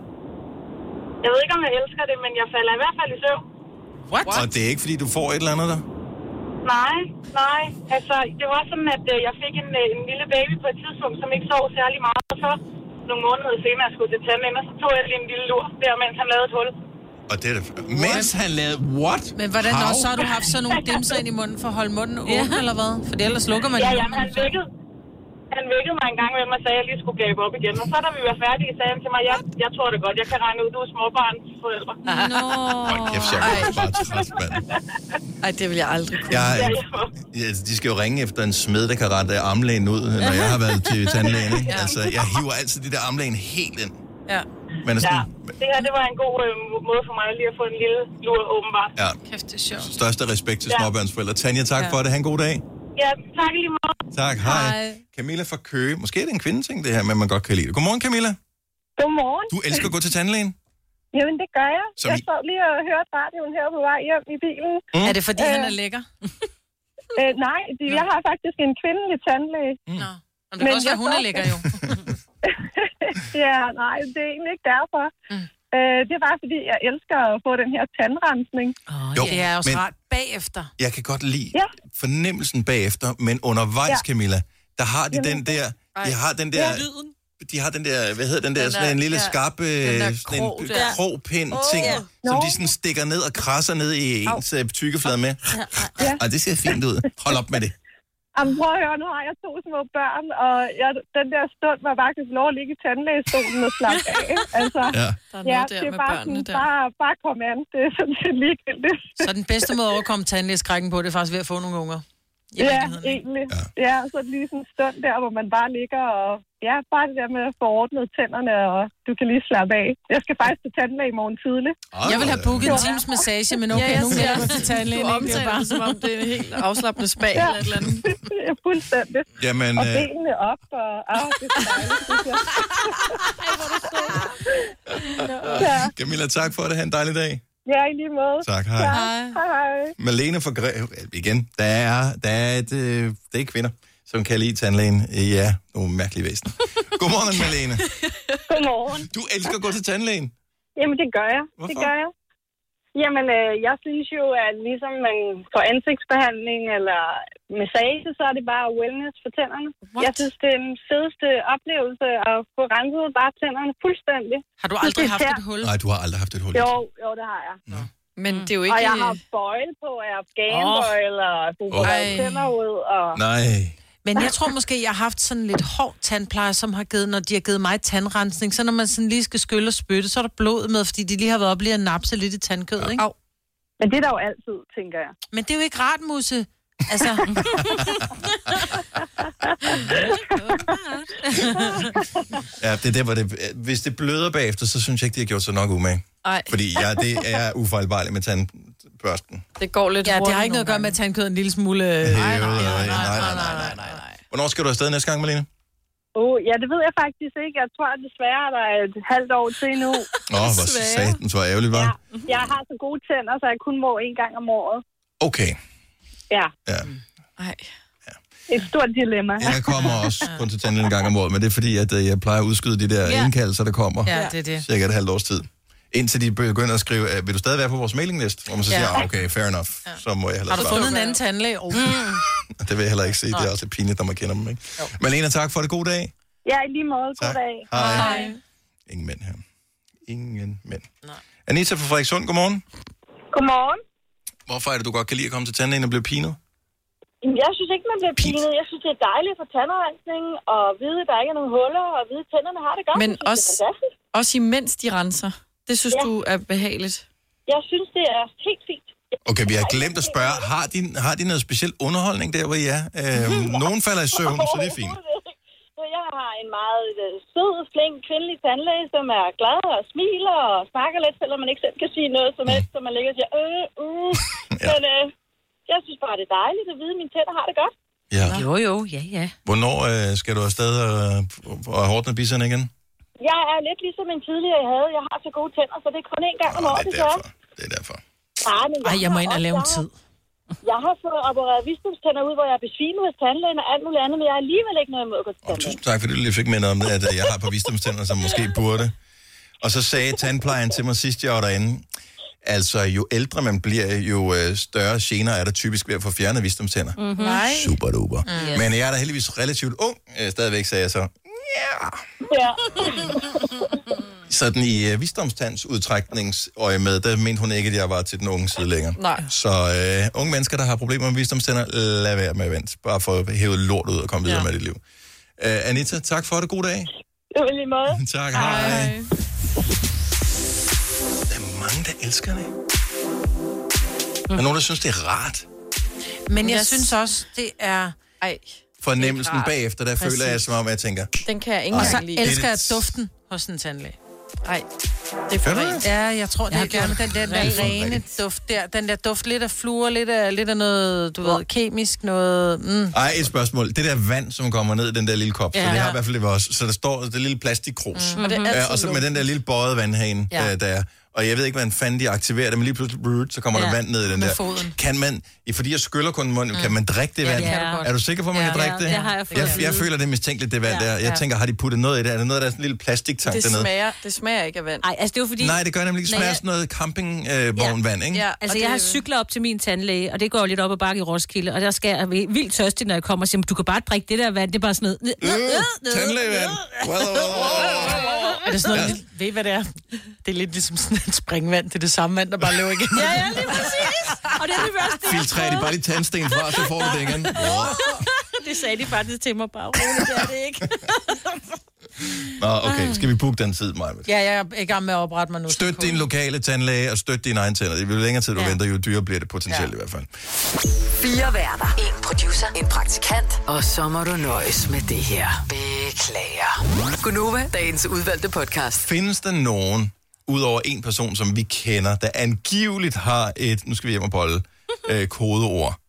Speaker 19: Jeg ved ikke, om jeg elsker det, men jeg falder i hvert fald i søvn.
Speaker 1: What? Og det er ikke, fordi du får et eller andet der?
Speaker 19: Nej, nej. Altså, det var sådan, at øh, jeg fik en, øh, en lille baby på et tidspunkt, som ikke sov særlig meget. Og så nogle måneder senere skulle til tandlægen, og så tog jeg lige en lille lur der, mens han lavede et hul.
Speaker 1: Og det er da... Mens han lavede... What?
Speaker 5: Men hvordan
Speaker 1: How?
Speaker 5: How? også, så har du haft sådan nogle dimser ind i munden for at holde munden åben, ja. eller hvad? For ellers lukker man
Speaker 19: Ja,
Speaker 5: den.
Speaker 19: jamen, han vækkede, han vækkede mig en gang med mig og sagde, at jeg lige skulle gabe op igen. Og så da vi var færdige, sagde han til mig, jeg, jeg tror det godt, jeg kan regne ud, du er småbarnsforældre.
Speaker 5: Nå.
Speaker 1: Kæft, jeg er bare træt, mand.
Speaker 4: Ej, det vil jeg aldrig kunne.
Speaker 1: Jeg, Ja, altså, de skal jo ringe efter en smed, der kan rette armlægen ud, når jeg har været til tandlægen. Ikke?
Speaker 19: Ja.
Speaker 1: Altså, jeg hiver altid de der armlægen helt ind.
Speaker 19: Ja.
Speaker 1: Men er sådan-
Speaker 19: ja. Det her, det var en god øh, måde for mig lige at få en lille lur, åbenbart.
Speaker 1: Ja.
Speaker 5: Kæft, det er sjovt.
Speaker 1: Største respekt til
Speaker 19: Ja.
Speaker 1: småbørnsforældre. Tanja, tak
Speaker 19: Ja.
Speaker 1: for det. Ha' en god dag.
Speaker 19: Ja, tak i lige måde.
Speaker 1: Tak, hej. Camilla fra Køge. Måske er det en kvindeting, det her, men man godt kan lide det. Godmorgen, Camilla.
Speaker 15: Godmorgen.
Speaker 1: Du elsker at gå til tandlægen.
Speaker 15: Jamen, det gør jeg.
Speaker 1: Som
Speaker 15: jeg
Speaker 1: I-
Speaker 15: sad lige og hørte radioen her på vej hjem i bilen.
Speaker 1: Mm. Er det, fordi han
Speaker 5: er lækker?
Speaker 15: øh, nej, de, jeg har faktisk en kvindelig tandlæge.
Speaker 5: Mm. Nå. Men det kan også være, hun er lækker jo.
Speaker 15: ja, nej, det er egentlig ikke derfor. Mm. Øh, det er bare, fordi jeg elsker at få den her tandrensning.
Speaker 5: Oh,
Speaker 1: Jo,
Speaker 5: det er også
Speaker 1: men-
Speaker 5: men... rart bagefter.
Speaker 1: Jeg kan godt lide ja. fornemmelsen bagefter, men undervejs, ja.
Speaker 5: Ja.
Speaker 1: Camilla, der har de den der... De har den der... De har den der, hvad hedder den der,
Speaker 7: Den
Speaker 1: sådan
Speaker 7: der-
Speaker 1: en lille
Speaker 7: ja.
Speaker 1: skarpe,
Speaker 7: Den der
Speaker 1: sådan
Speaker 7: krog
Speaker 1: en
Speaker 7: der.
Speaker 1: krogpind
Speaker 7: Åh,
Speaker 1: ting,
Speaker 7: ja.
Speaker 1: som
Speaker 7: Nå.
Speaker 1: de sådan stikker ned og krasser ned i
Speaker 15: Au.
Speaker 1: ens øh, tykkeflade med.
Speaker 15: Ja.
Speaker 1: Og det ser fint ud. Hold op med det.
Speaker 15: Jamen, prøv at høre, nu har jeg to små børn, og jeg, den der stund var faktisk lov at ligge i tandlægestolen og slappe af. Altså,
Speaker 1: ja.
Speaker 5: Der er noget der
Speaker 15: det er
Speaker 5: med
Speaker 15: bare
Speaker 5: børnene
Speaker 15: sådan,
Speaker 5: der.
Speaker 15: Bare, bare kom an, det er sådan set ligegyldigt.
Speaker 5: Så den bedste måde at overkomme tandlægeskrækken på, det er faktisk ved at få nogle unger. I
Speaker 15: Ja,
Speaker 5: virkeligheden, ikke?
Speaker 15: egentlig. Ja. ja, så er det lige sådan en stund der, hvor man bare ligger og... Ja, bare det der med at få ordnet tænderne, og du kan lige slappe af. Jeg skal faktisk til tandlæge i morgen tidlig.
Speaker 5: Jeg vil have booket en times massage, men okay, ja, nu må jeg gå til tandlægen.
Speaker 4: Du
Speaker 5: ikke? Det er
Speaker 4: omtaler
Speaker 5: bare-
Speaker 4: det, som om det er en helt afslappende spa
Speaker 15: Ja.
Speaker 4: eller et eller andet.
Speaker 15: Ja, fuldstændig.
Speaker 1: Jamen,
Speaker 15: og
Speaker 1: øh,
Speaker 15: benene op, og... Ah, det er så dejligt, synes jeg. ja.
Speaker 1: øh, Camilla, tak for det. Ha' en dejlig dag.
Speaker 15: ja, i lige måde.
Speaker 1: Tak, hej.
Speaker 15: Ja, hej.
Speaker 1: Malene fra Greve, igen, der er, der er et, øh, det er kvinder, som kan lide tandlægen. Ja, nogle mærkelige væsener. Godmorgen, Malene.
Speaker 15: Godmorgen.
Speaker 1: Du elsker at gå til tandlægen.
Speaker 15: Jamen, det gør jeg.
Speaker 1: Hvorfor?
Speaker 15: Det gør jeg.
Speaker 19: Jamen, øh, jeg synes jo, at ligesom man får ansigtsbehandling eller massage, så er det bare wellness for tænderne. What? Jeg synes, det er den fedeste oplevelse at få renset bare tænderne fuldstændig.
Speaker 5: Har du
Speaker 19: aldrig haft et
Speaker 5: hul?
Speaker 1: Nej, du har aldrig haft et hul.
Speaker 19: Jo, jo, det har jeg.
Speaker 4: Men det er jo ikke...
Speaker 19: Ikke... Og jeg har bøjle på, og jeg har ganebøjle, og sådan
Speaker 1: Åh.
Speaker 19: oh. tænder ud, og...
Speaker 1: Nej.
Speaker 5: Men jeg tror måske, jeg har haft sådan lidt hård tandpleje, som har givet, når de har givet mig tandrensning, så når man sådan lige skal skylle og spytte, så er der blod med, fordi de lige har været op lige at napse lidt i tandkød, ikke? Au.
Speaker 15: Men det er der jo altid, tænker jeg.
Speaker 5: Men det er jo ikke rart, Musse. Altså,
Speaker 1: Ja, det er der, hvor det, hvis det bløder bagefter, så synes jeg ikke, de har gjort sig nok umage.
Speaker 4: Ej.
Speaker 1: Fordi ja, det er ufejlbarligt med tandbørsten.
Speaker 4: Det går lidt
Speaker 5: ja, det har
Speaker 4: hurtigt
Speaker 5: ikke noget at gøre med at tandkød en lille smule... øh,
Speaker 1: nej, nej, nej, Øh, nej, nej, nej, nej. Hvornår skal du afsted næste gang, Malene?
Speaker 15: Oh, ja, det ved jeg faktisk ikke. Jeg tror at desværre, at der er et halvt år til endnu.
Speaker 1: Åh, oh, hvor satans, hvor ærgerligt, var.
Speaker 15: Jeg har så gode tænder, så jeg kun må en gang om året.
Speaker 1: Okay,
Speaker 15: Ja,
Speaker 1: ja.
Speaker 15: et stort dilemma.
Speaker 1: Jeg kommer også kun til tandlægen en gang om året, men det er fordi, at øh, jeg plejer at udskyde de der
Speaker 15: Ja.
Speaker 1: indkaldelser, der kommer.
Speaker 15: Ja, det er det.
Speaker 1: Cirka et halvt års tid. Indtil de begynder at skrive, øh, vil du stadig være på vores mailinglist? Hvor man så
Speaker 5: Ja.
Speaker 1: siger, "Ah, okay, fair enough. Så må jeg
Speaker 5: Har
Speaker 1: hellere
Speaker 5: du
Speaker 1: svare.
Speaker 5: fundet en anden tandlæge?
Speaker 4: Mm.
Speaker 5: Oh.
Speaker 1: Det vil jeg heller ikke sige. Det er også lidt pinligt, når man kender dem, ikke? Malena, tak for det. God dag.
Speaker 15: Ja, i lige måde. God
Speaker 1: Tak.
Speaker 15: dag.
Speaker 1: Hej. Ingen mænd her. Ingen mænd. Anita fra Frederikssund, godmorgen.
Speaker 15: Godmorgen.
Speaker 1: Hvorfor er det, du godt kan lide at komme til tandlægen og blive pinet?
Speaker 15: Jamen, Jeg synes ikke, man bliver pinet. Jeg synes, det er dejligt at få tandrensning og vide, at der ikke er nogen huller, og vide, at tænderne har det godt.
Speaker 4: Men
Speaker 15: Jeg synes,
Speaker 4: også,
Speaker 15: Det er fantastisk.
Speaker 4: også imens de renser. Det synes ja. du er behageligt.
Speaker 15: Jeg synes, det er helt fint.
Speaker 1: Okay, vi har glemt at spørge, har de, har de noget speciel underholdning der, hvor I er? Øhm, nogen falder i søvn, så det er fint.
Speaker 15: Så jeg har en meget øh, sød, flink kvindelig tandlæge, som er glad og smiler og snakker lidt, selvom man ikke selv kan sige noget som helst, så man ligger og siger, øh, uh. Men øh, jeg synes bare, det er dejligt at vide, at mine tænder har det godt.
Speaker 1: Ja.
Speaker 5: Jo, jo, ja, ja.
Speaker 1: Hvornår øh, skal du afsted og, og hårdne bisserne igen?
Speaker 15: Jeg er lidt ligesom en tidligere, jeg havde. Jeg har så gode tænder, så det er kun én gang om året, det, er derfor.
Speaker 1: Det er derfor.
Speaker 15: Nej, men jeg,
Speaker 5: Ej, jeg må
Speaker 15: har
Speaker 5: ind og
Speaker 15: også-
Speaker 5: lave en
Speaker 15: jeg har-
Speaker 5: tid.
Speaker 15: Jeg har fået opereret visdomstænder ud, hvor jeg er besvimet hos tandlægen og alt muligt andet, men jeg har alligevel ikke noget imod at gå til tandlægen.
Speaker 1: Tak fordi du lige fik mindet om det, at øh, jeg har et par visdomstænder, som måske burde. Og så sagde tandplejeren til mig sidst, jeg var derinde, altså jo ældre man bliver, jo øh, større gener er der typisk ved at få fjernet visdomstænder.
Speaker 7: Mhm. Nej.
Speaker 1: Super duper.
Speaker 7: Mm.
Speaker 1: Men jeg er da heldigvis relativt ung øh, stadigvæk, sagde jeg så.
Speaker 7: Ja.
Speaker 1: Sådan i øh, visdomstandsudtrækningsøje med, der mente hun ikke, at jeg var til den unge side længere.
Speaker 7: Nej.
Speaker 1: Så øh, unge mennesker, der har problemer med visdomstænder, lad være med at vente. Bare for at hæve lort ud og komme videre ja. med dit liv. Øh, Anita, tak for det. God dag.
Speaker 26: Det var lige måde.
Speaker 1: Tak, hej. hej. Der er mange, der elsker det. Der er nogen, der synes, det er rart.
Speaker 5: Men jeg
Speaker 4: Yes.
Speaker 5: synes også, det er...
Speaker 4: Ej.
Speaker 1: Fornemmelsen
Speaker 5: rart.
Speaker 1: bagefter, der Præcis. føler jeg,
Speaker 5: Præcis.
Speaker 1: som om jeg tænker,
Speaker 4: Den kan jeg ikke
Speaker 5: Og så
Speaker 4: engang lide.
Speaker 5: elsker jeg duften hos en tandlæge.
Speaker 4: Nej, det er for
Speaker 1: Gør du
Speaker 4: rent.
Speaker 5: Ja, jeg tror, det
Speaker 4: Jeg
Speaker 5: jeg
Speaker 4: har
Speaker 5: er gerne
Speaker 4: gjort
Speaker 5: den der, den
Speaker 4: rent for
Speaker 5: der rene duft der. Den der duft lidt af fluer, lidt af, lidt af noget, du ved, kemisk noget. Mm.
Speaker 1: Ej, et spørgsmål. Det der vand, som kommer ned i den der lille kop, ja. så
Speaker 5: Ja.
Speaker 1: det har i hvert fald det var også. Så der står det lille plastikkrus.
Speaker 5: Mhm. Og det er altid
Speaker 1: Øh, og så med
Speaker 5: lugten.
Speaker 1: den der lille bøjede vandhane,
Speaker 5: Ja.
Speaker 1: ja. øh, der er. Og jeg ved ikke, hvordan fanden de aktiverer det, men lige pludselig, brrrt, så kommer ja.
Speaker 5: Ja,
Speaker 1: der vand ned i den
Speaker 5: med
Speaker 1: der.
Speaker 5: foden.
Speaker 1: Kan man, i- fordi jeg skyller kun munden, mm. kan man drikke det
Speaker 5: Ja,
Speaker 1: vand?
Speaker 5: det kan du godt.
Speaker 1: er du sikker på, at man
Speaker 5: Ja.
Speaker 1: kan drikke
Speaker 5: Ja,
Speaker 1: det?
Speaker 5: det har jeg fået at
Speaker 1: jeg,
Speaker 5: vide.
Speaker 1: jeg føler, det er mistænkeligt, det vand
Speaker 4: Ja,
Speaker 1: der. Jeg
Speaker 4: ja.
Speaker 1: tænker, har de puttet noget i det? Er der noget, der er sådan en lille plastiktank
Speaker 4: Det
Speaker 1: dernede?
Speaker 4: smager, det smager ikke af vand.
Speaker 3: Nej, altså det er jo fordi...
Speaker 1: Nej, det gør nemlig ikke. Det
Speaker 3: Når
Speaker 1: smager
Speaker 3: jeg-
Speaker 1: sådan noget campingvognvand, ikke?
Speaker 3: Ja, altså, jeg har cykler op til min tandlæge, og det går jo lidt op ad bakke i Roskilde, og der skal jeg være vildt tørstig, når jeg kommer og siger, "Men du kan bare drikke det der vand, det er bare sådan noget...
Speaker 1: Øh, Tandlægevand. Well, well, well.
Speaker 27: Er det sådan noget, lidt- ved I, hvad det er? Det er lidt ligesom sådan et springvand. Det er det samme vand, der bare løber igennem.
Speaker 3: Ja, ja, lige præcis. Og det er det første.
Speaker 1: Filtrer de bare lige tandsten fra, så får du det igen.
Speaker 3: det sagde de faktisk til mig bare. Roligt, det er det ikke.
Speaker 1: Nå, okay. Skal vi booke den tid, Maja?
Speaker 5: Ja, jeg er i gang med at oprette mig nu.
Speaker 1: Støt din lokale tandlæge og støt dine egne tænder. Jo længere tid du ja. venter, jo dyrere bliver det potentielt ja. i hvert fald.
Speaker 6: Fire værter. En producer. En praktikant. Og så må du nøjes med det her. Beklager. Gunova, dagens udvalgte podcast.
Speaker 1: Findes der nogen, udover en person, som vi kender, der angiveligt har et, nu skal vi hjem og bolle, øh, kodeord,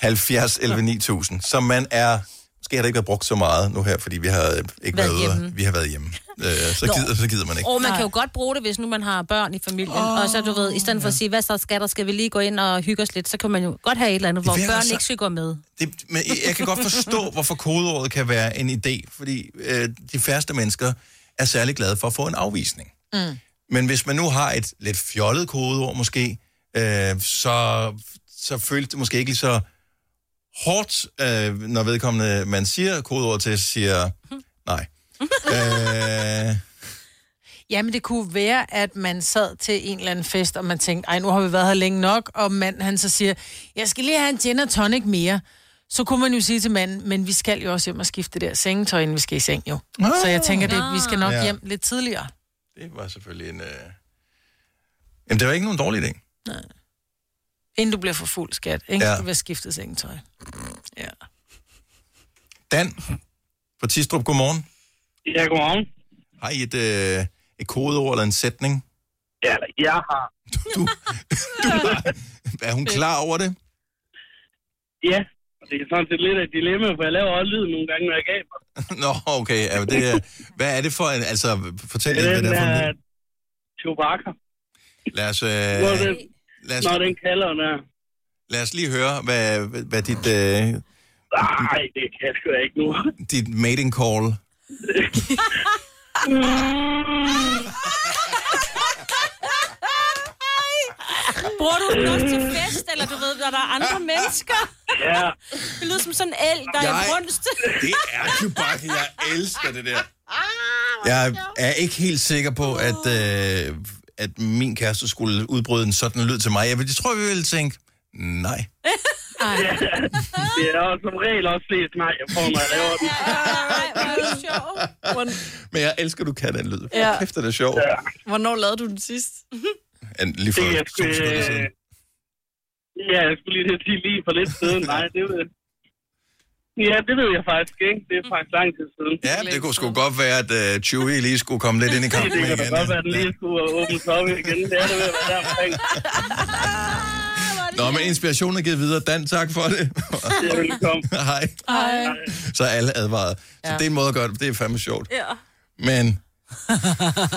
Speaker 1: 70 11 9000, som man er, måske har det ikke været brugt så meget nu her, fordi vi har øh,
Speaker 3: Været
Speaker 1: ikke været, været ude,
Speaker 3: hjemme.
Speaker 1: vi har været hjemme. Øh, så,
Speaker 3: Nå.
Speaker 1: gider, så gider man ikke.
Speaker 3: Og man kan jo godt bruge det, hvis nu man har børn i familien. Oh, og så du ved, i stedet for at sige, hvad så skatter, skal vi lige gå ind og hygge os lidt, så kan man jo godt have et eller andet, hvor
Speaker 1: Det virker
Speaker 3: børn
Speaker 1: så-
Speaker 3: ikke skal gå med.
Speaker 1: Det, men jeg kan godt forstå, hvorfor kodeordet kan være en idé, fordi øh, de færreste mennesker er særlig glade for at få en afvisning.
Speaker 7: Mm.
Speaker 1: Men hvis man nu har et lidt fjollet kodeord måske, øh, så, så føles det måske ikke lige så hårdt, øh, når vedkommende, man siger kodeord til, siger nej. øh,
Speaker 5: Jamen, det kunne være, at man sad til en eller anden fest, og man tænkte, ej, nu har vi været her længe nok, og manden han så siger, jeg skal lige have en gin og tonic mere. Så kunne man jo sige til manden, men vi skal jo også hjem og skifte det der sengetøj, inden vi skal i seng jo. Så jeg tænker, det, vi skal nok
Speaker 1: Ja.
Speaker 5: hjem lidt tidligere.
Speaker 1: det var selvfølgelig en... Øh... Jamen, det var ikke nogen dårlig idé.
Speaker 5: Inden du bliver for fuld skat, ikke?
Speaker 1: Ja.
Speaker 5: Ja. Du vil skifte sengetøj. Ja.
Speaker 1: Dan fra Tistrup, godmorgen.
Speaker 17: Ja, godmorgen.
Speaker 1: Har I et, øh, et kodeord eller en sætning?
Speaker 17: Ja, jeg har.
Speaker 1: Du, du, er hun klar over det?
Speaker 17: Ja, og det er sådan set lidt af et dilemma, for jeg laver også lyd nogle gange, når jeg gaber.
Speaker 1: Nå, okay. Er det, øh, hvad er det for en... Altså, fortæl lige, hvad det er for en lyd.
Speaker 17: Chewbacca.
Speaker 1: Lad os, øh,
Speaker 17: Når den,
Speaker 1: lad, os,
Speaker 17: når den kalder, der.
Speaker 1: lad os lige høre, hvad, hvad dit, øh,
Speaker 17: Nej, det kan jeg sgu da ikke nu.
Speaker 1: dit mating call...
Speaker 3: Bruger du den også til fest, eller du ved, når der er andre mennesker?
Speaker 1: Ja.
Speaker 3: Det lyder som sådan en el, der er
Speaker 1: Jeg-
Speaker 3: i brunst.
Speaker 1: Det er Chewbacca. Jeg elsker det der. Jeg er ikke helt sikker på, at, øh, at min kæreste skulle udbryde en sådan lyd til mig. Jeg, vil- jeg tror, vi ville tænke, nej.
Speaker 17: Ja. Det er også som regel også flest nej, jeg får, når jeg laver den.
Speaker 1: Men jeg elsker, du kan den lyd.
Speaker 4: Ja.
Speaker 1: Ja. Kæft, det er sjovt.
Speaker 4: Hvornår lavede du den sidst?
Speaker 1: Ja. Lige for
Speaker 17: Det er
Speaker 1: to
Speaker 17: sgu,
Speaker 1: sekunder siden.
Speaker 17: øh, Ja, jeg skulle lige til at sige lige for lidt siden. Nej, det ved jeg. Ja, det ved jeg faktisk ikke. Det er faktisk lang tid siden.
Speaker 1: Ja, det kunne sgu godt være, at øh, Chewie lige skulle komme lidt ind i kampen
Speaker 17: Det
Speaker 1: igen.
Speaker 17: kan da godt være, at den lige skulle åbnes op igen. Det er det ved at være der omkring.
Speaker 1: Nå, men inspirationen er givet videre. Dan, tak for det.
Speaker 17: Ja, velkommen.
Speaker 1: Hej.
Speaker 17: Hej.
Speaker 1: Så er alle advaret. Så
Speaker 4: Ja.
Speaker 1: det er en måde at gøre det. Det er fandme sjovt.
Speaker 4: Ja.
Speaker 1: Men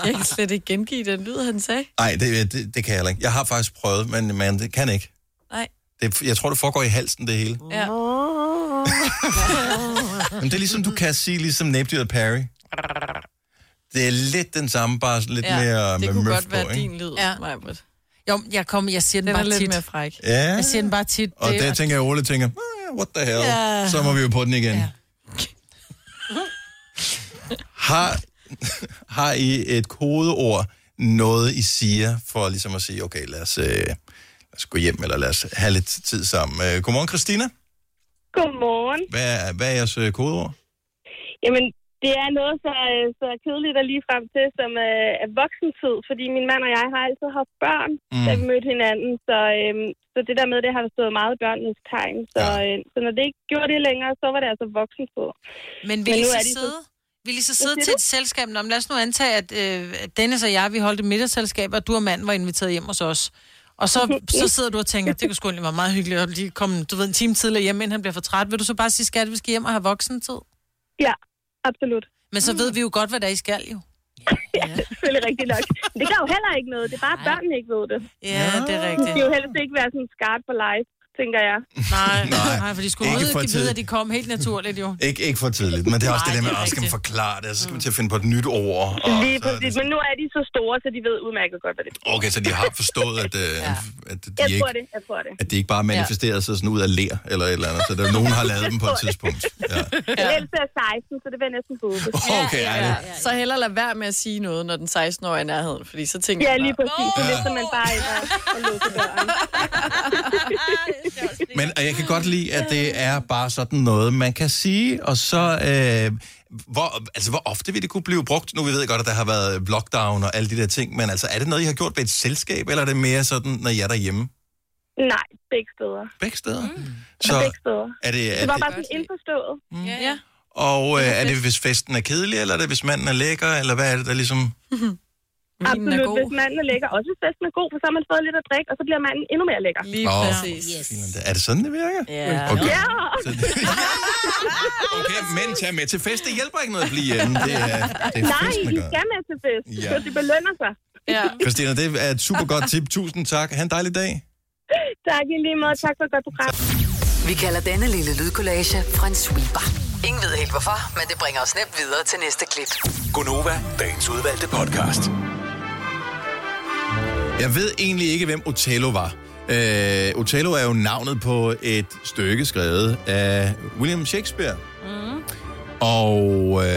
Speaker 4: Jeg kan slet ikke gengive den lyd, han sagde.
Speaker 1: nej, det, det, det kan jeg heller ikke. Jeg har faktisk prøvet, men man det kan ikke.
Speaker 4: Nej.
Speaker 1: Det, jeg tror, det foregår i halsen, det hele.
Speaker 4: Ja.
Speaker 1: Men det er ligesom, du kan sige ligesom næbdyret Perry. Det er lidt den samme, bare sådan lidt ja, mere
Speaker 5: det
Speaker 1: med
Speaker 5: kunne
Speaker 1: møf
Speaker 5: godt
Speaker 1: på,
Speaker 5: være
Speaker 1: ikke?
Speaker 5: din
Speaker 4: lyd,
Speaker 5: ja.
Speaker 4: Majbrit.
Speaker 2: Jo, jeg, kom, jeg siger den,
Speaker 5: Den er
Speaker 2: bare
Speaker 5: lidt
Speaker 2: tit.
Speaker 5: mere
Speaker 4: fræk.
Speaker 1: Ja.
Speaker 2: Jeg siger den bare tit.
Speaker 1: Og der tænker jeg, Ole tænker, "Ah, what the hell,
Speaker 2: Ja.
Speaker 1: ja. så må vi jo på den igen. Ja. har, har I et kodeord, noget I siger, for ligesom at sige, okay, lad os, øh, lad os gå hjem, eller lad os have lidt tid sammen. Øh, godmorgen, Christina.
Speaker 18: Godmorgen.
Speaker 1: Hvad er, hvad er jeres øh, kodeord?
Speaker 18: Jamen, det er noget så, øh, så kedeligt og lige frem til, som øh, er voksentid, fordi min mand og jeg har altid haft børn, mm.
Speaker 1: Mm.
Speaker 18: da vi mødte hinanden, så, øh, så det der med, det har stået meget i børnenes tegn. Så, øh, så når det ikke gjorde det længere, så var det altså voksentid.
Speaker 2: Men vil I
Speaker 18: nu
Speaker 2: så
Speaker 18: er de
Speaker 2: sidde, vil I så
Speaker 18: Hvad
Speaker 2: sidde
Speaker 18: siger
Speaker 2: til et selskab? Nå, men lad os nu antage, at øh, at Dennis og jeg, vi holdt et middagsselskab, og du og manden var inviteret hjem hos os. Og så, så sidder du og tænker, det kunne sgu egentlig være meget hyggeligt at lige komme, du ved, en time tidligere hjem, inden han bliver for træt. Vil du så bare sige, skat, vi skal hjem og have voksentid?
Speaker 18: Ja, absolut.
Speaker 2: Men så ved vi jo godt, hvad der er, I skal jo.
Speaker 18: Ja, det er selvfølgelig rigtigt nok. Men det gør jo heller ikke noget. Det er bare, at børnene ikke ved det.
Speaker 2: Ja, det er rigtigt.
Speaker 18: De skal jo helst ikke være sådan skarp på live, tænker jeg.
Speaker 2: Nej, nej, nej for de skulle
Speaker 1: ikke
Speaker 2: ikke
Speaker 1: for
Speaker 2: vide,
Speaker 1: tidligt.
Speaker 2: at de kom helt naturligt jo.
Speaker 1: Ikke, ikke for tidligt, men det er også
Speaker 2: Nej,
Speaker 1: det der med,
Speaker 2: det er
Speaker 1: at skal man forklare det, og så skal man til at finde på et nyt ord.
Speaker 18: Oh,
Speaker 1: Og
Speaker 18: Lige
Speaker 1: så,
Speaker 18: præcis. Men nu er de så store, så de ved udmærket godt, hvad det er.
Speaker 1: okay, så de har forstået, at, øh, ja. at,
Speaker 18: Jeg
Speaker 1: de ikke,
Speaker 18: tror det, jeg tror det.
Speaker 1: at de ikke bare manifesterer sig sådan ud af ler, eller et eller andet, så der, nogen har lavet dem på et tidspunkt. Ja.
Speaker 18: Den ældste er 16, så det vil jeg næsten på hovedet.
Speaker 1: Okay, ej, det-
Speaker 4: Så heller lade være med at sige noget, når den 16-årige er i nærheden, fordi så tænker
Speaker 18: Ja,
Speaker 4: man
Speaker 18: lige
Speaker 4: bare,
Speaker 18: præcis. Så
Speaker 1: Ja.
Speaker 18: lister man bare ind og, og lukker døren.
Speaker 1: Men og jeg kan godt lide, at det er bare sådan noget, man kan sige, og så... Øh, hvor, altså, hvor ofte vil det kunne blive brugt? Nu vi ved godt, at der har været lockdown og alle de der ting, men altså, er det noget, I har gjort ved et selskab, eller er det mere sådan, når jeg er derhjemme?
Speaker 18: Nej, begge steder.
Speaker 1: Begge steder? Mm.
Speaker 18: Så,
Speaker 1: Så
Speaker 18: begge steder.
Speaker 1: er det... Er
Speaker 18: Det var
Speaker 1: det Mm.
Speaker 18: bare sådan indforstået.
Speaker 1: Ja,
Speaker 18: ja.
Speaker 1: og øh, er det, hvis festen er kedelig, eller er det, hvis manden er lækker, eller hvad er det, der ligesom...
Speaker 18: Absolut, hvis manden er lækker. Også hvis festen er god, for så har man fået lidt at drikke, og så bliver manden endnu mere lækker.
Speaker 1: Lige Nå. præcis.
Speaker 18: Yes.
Speaker 1: Er det sådan, det virker?
Speaker 18: Ja.
Speaker 1: Okay.
Speaker 18: Ja.
Speaker 1: Okay, men tag med til fest. Det hjælper ikke noget at blive hjemme. Det er, det er
Speaker 18: Nej,
Speaker 1: festen, der
Speaker 18: I
Speaker 1: gør.
Speaker 18: skal med til fest,
Speaker 1: Ja.
Speaker 18: så det belønner sig. Ja.
Speaker 1: Christina, det er et super godt tip. Tusind tak. Ha' en dejlig dag.
Speaker 18: Tak i lige måde. Tak for et godt program.
Speaker 6: Vi kalder denne lille lydkollage en sweeper. Ingen ved helt hvorfor, men det bringer os nemt videre til næste klip.
Speaker 12: Gonova, dagens udvalgte podcast.
Speaker 1: Jeg ved egentlig ikke, hvem Othello var. Øh, Othello er jo navnet på et stykke skrevet af William Shakespeare.
Speaker 4: Mm.
Speaker 1: Og øh,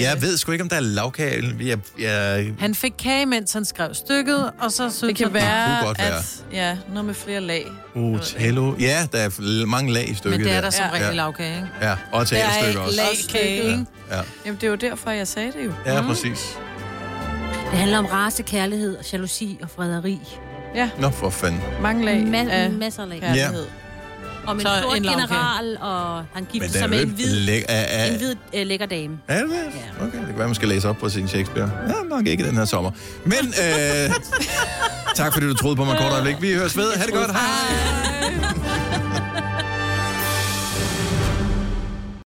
Speaker 1: jeg ved sgu ikke, om der er lavkage. Jeg, jeg,
Speaker 2: Han fik kage, mens han skrev stykket, og så synes
Speaker 4: Det kan
Speaker 2: han-
Speaker 1: Det
Speaker 4: være,
Speaker 1: kunne godt være.
Speaker 4: at... Ja, noget med flere lag.
Speaker 1: Othello. Ja, der er l- mange lag i stykket.
Speaker 4: Men det er der som
Speaker 1: ja.
Speaker 4: regel
Speaker 1: ja.
Speaker 2: lavkage, ikke?
Speaker 1: Ja, og
Speaker 4: Der er
Speaker 1: teaterstykker
Speaker 4: ikke
Speaker 1: også.
Speaker 4: lagkage,
Speaker 1: ja.
Speaker 4: ikke?
Speaker 1: ja.
Speaker 4: Jamen, det er jo derfor, jeg sagde det jo.
Speaker 1: ja,
Speaker 3: Mm.
Speaker 1: præcis.
Speaker 3: Det handler om race, kærlighed, og jalousi og frederi.
Speaker 4: Ja.
Speaker 1: Nå, for fanden.
Speaker 4: Mange lag
Speaker 3: Ma-
Speaker 4: af
Speaker 3: masser af lag.
Speaker 1: kærlighed.
Speaker 3: Om en
Speaker 2: Så
Speaker 3: sort
Speaker 2: en lagkage.
Speaker 3: general, og han
Speaker 1: Men
Speaker 3: giftede
Speaker 1: den er
Speaker 3: sig med
Speaker 1: jo
Speaker 3: en
Speaker 1: ikke
Speaker 3: hvid,
Speaker 1: læk- er- er-
Speaker 3: en hvid øh, lækker dame.
Speaker 1: Er det det? Okay, det kan være, man skal læse op på sin Shakespeare. Ja, nok ikke den her sommer. Men øh, tak, fordi du troede på mig kort øjeblik. Vi høres ved. Ha' det godt. Hej.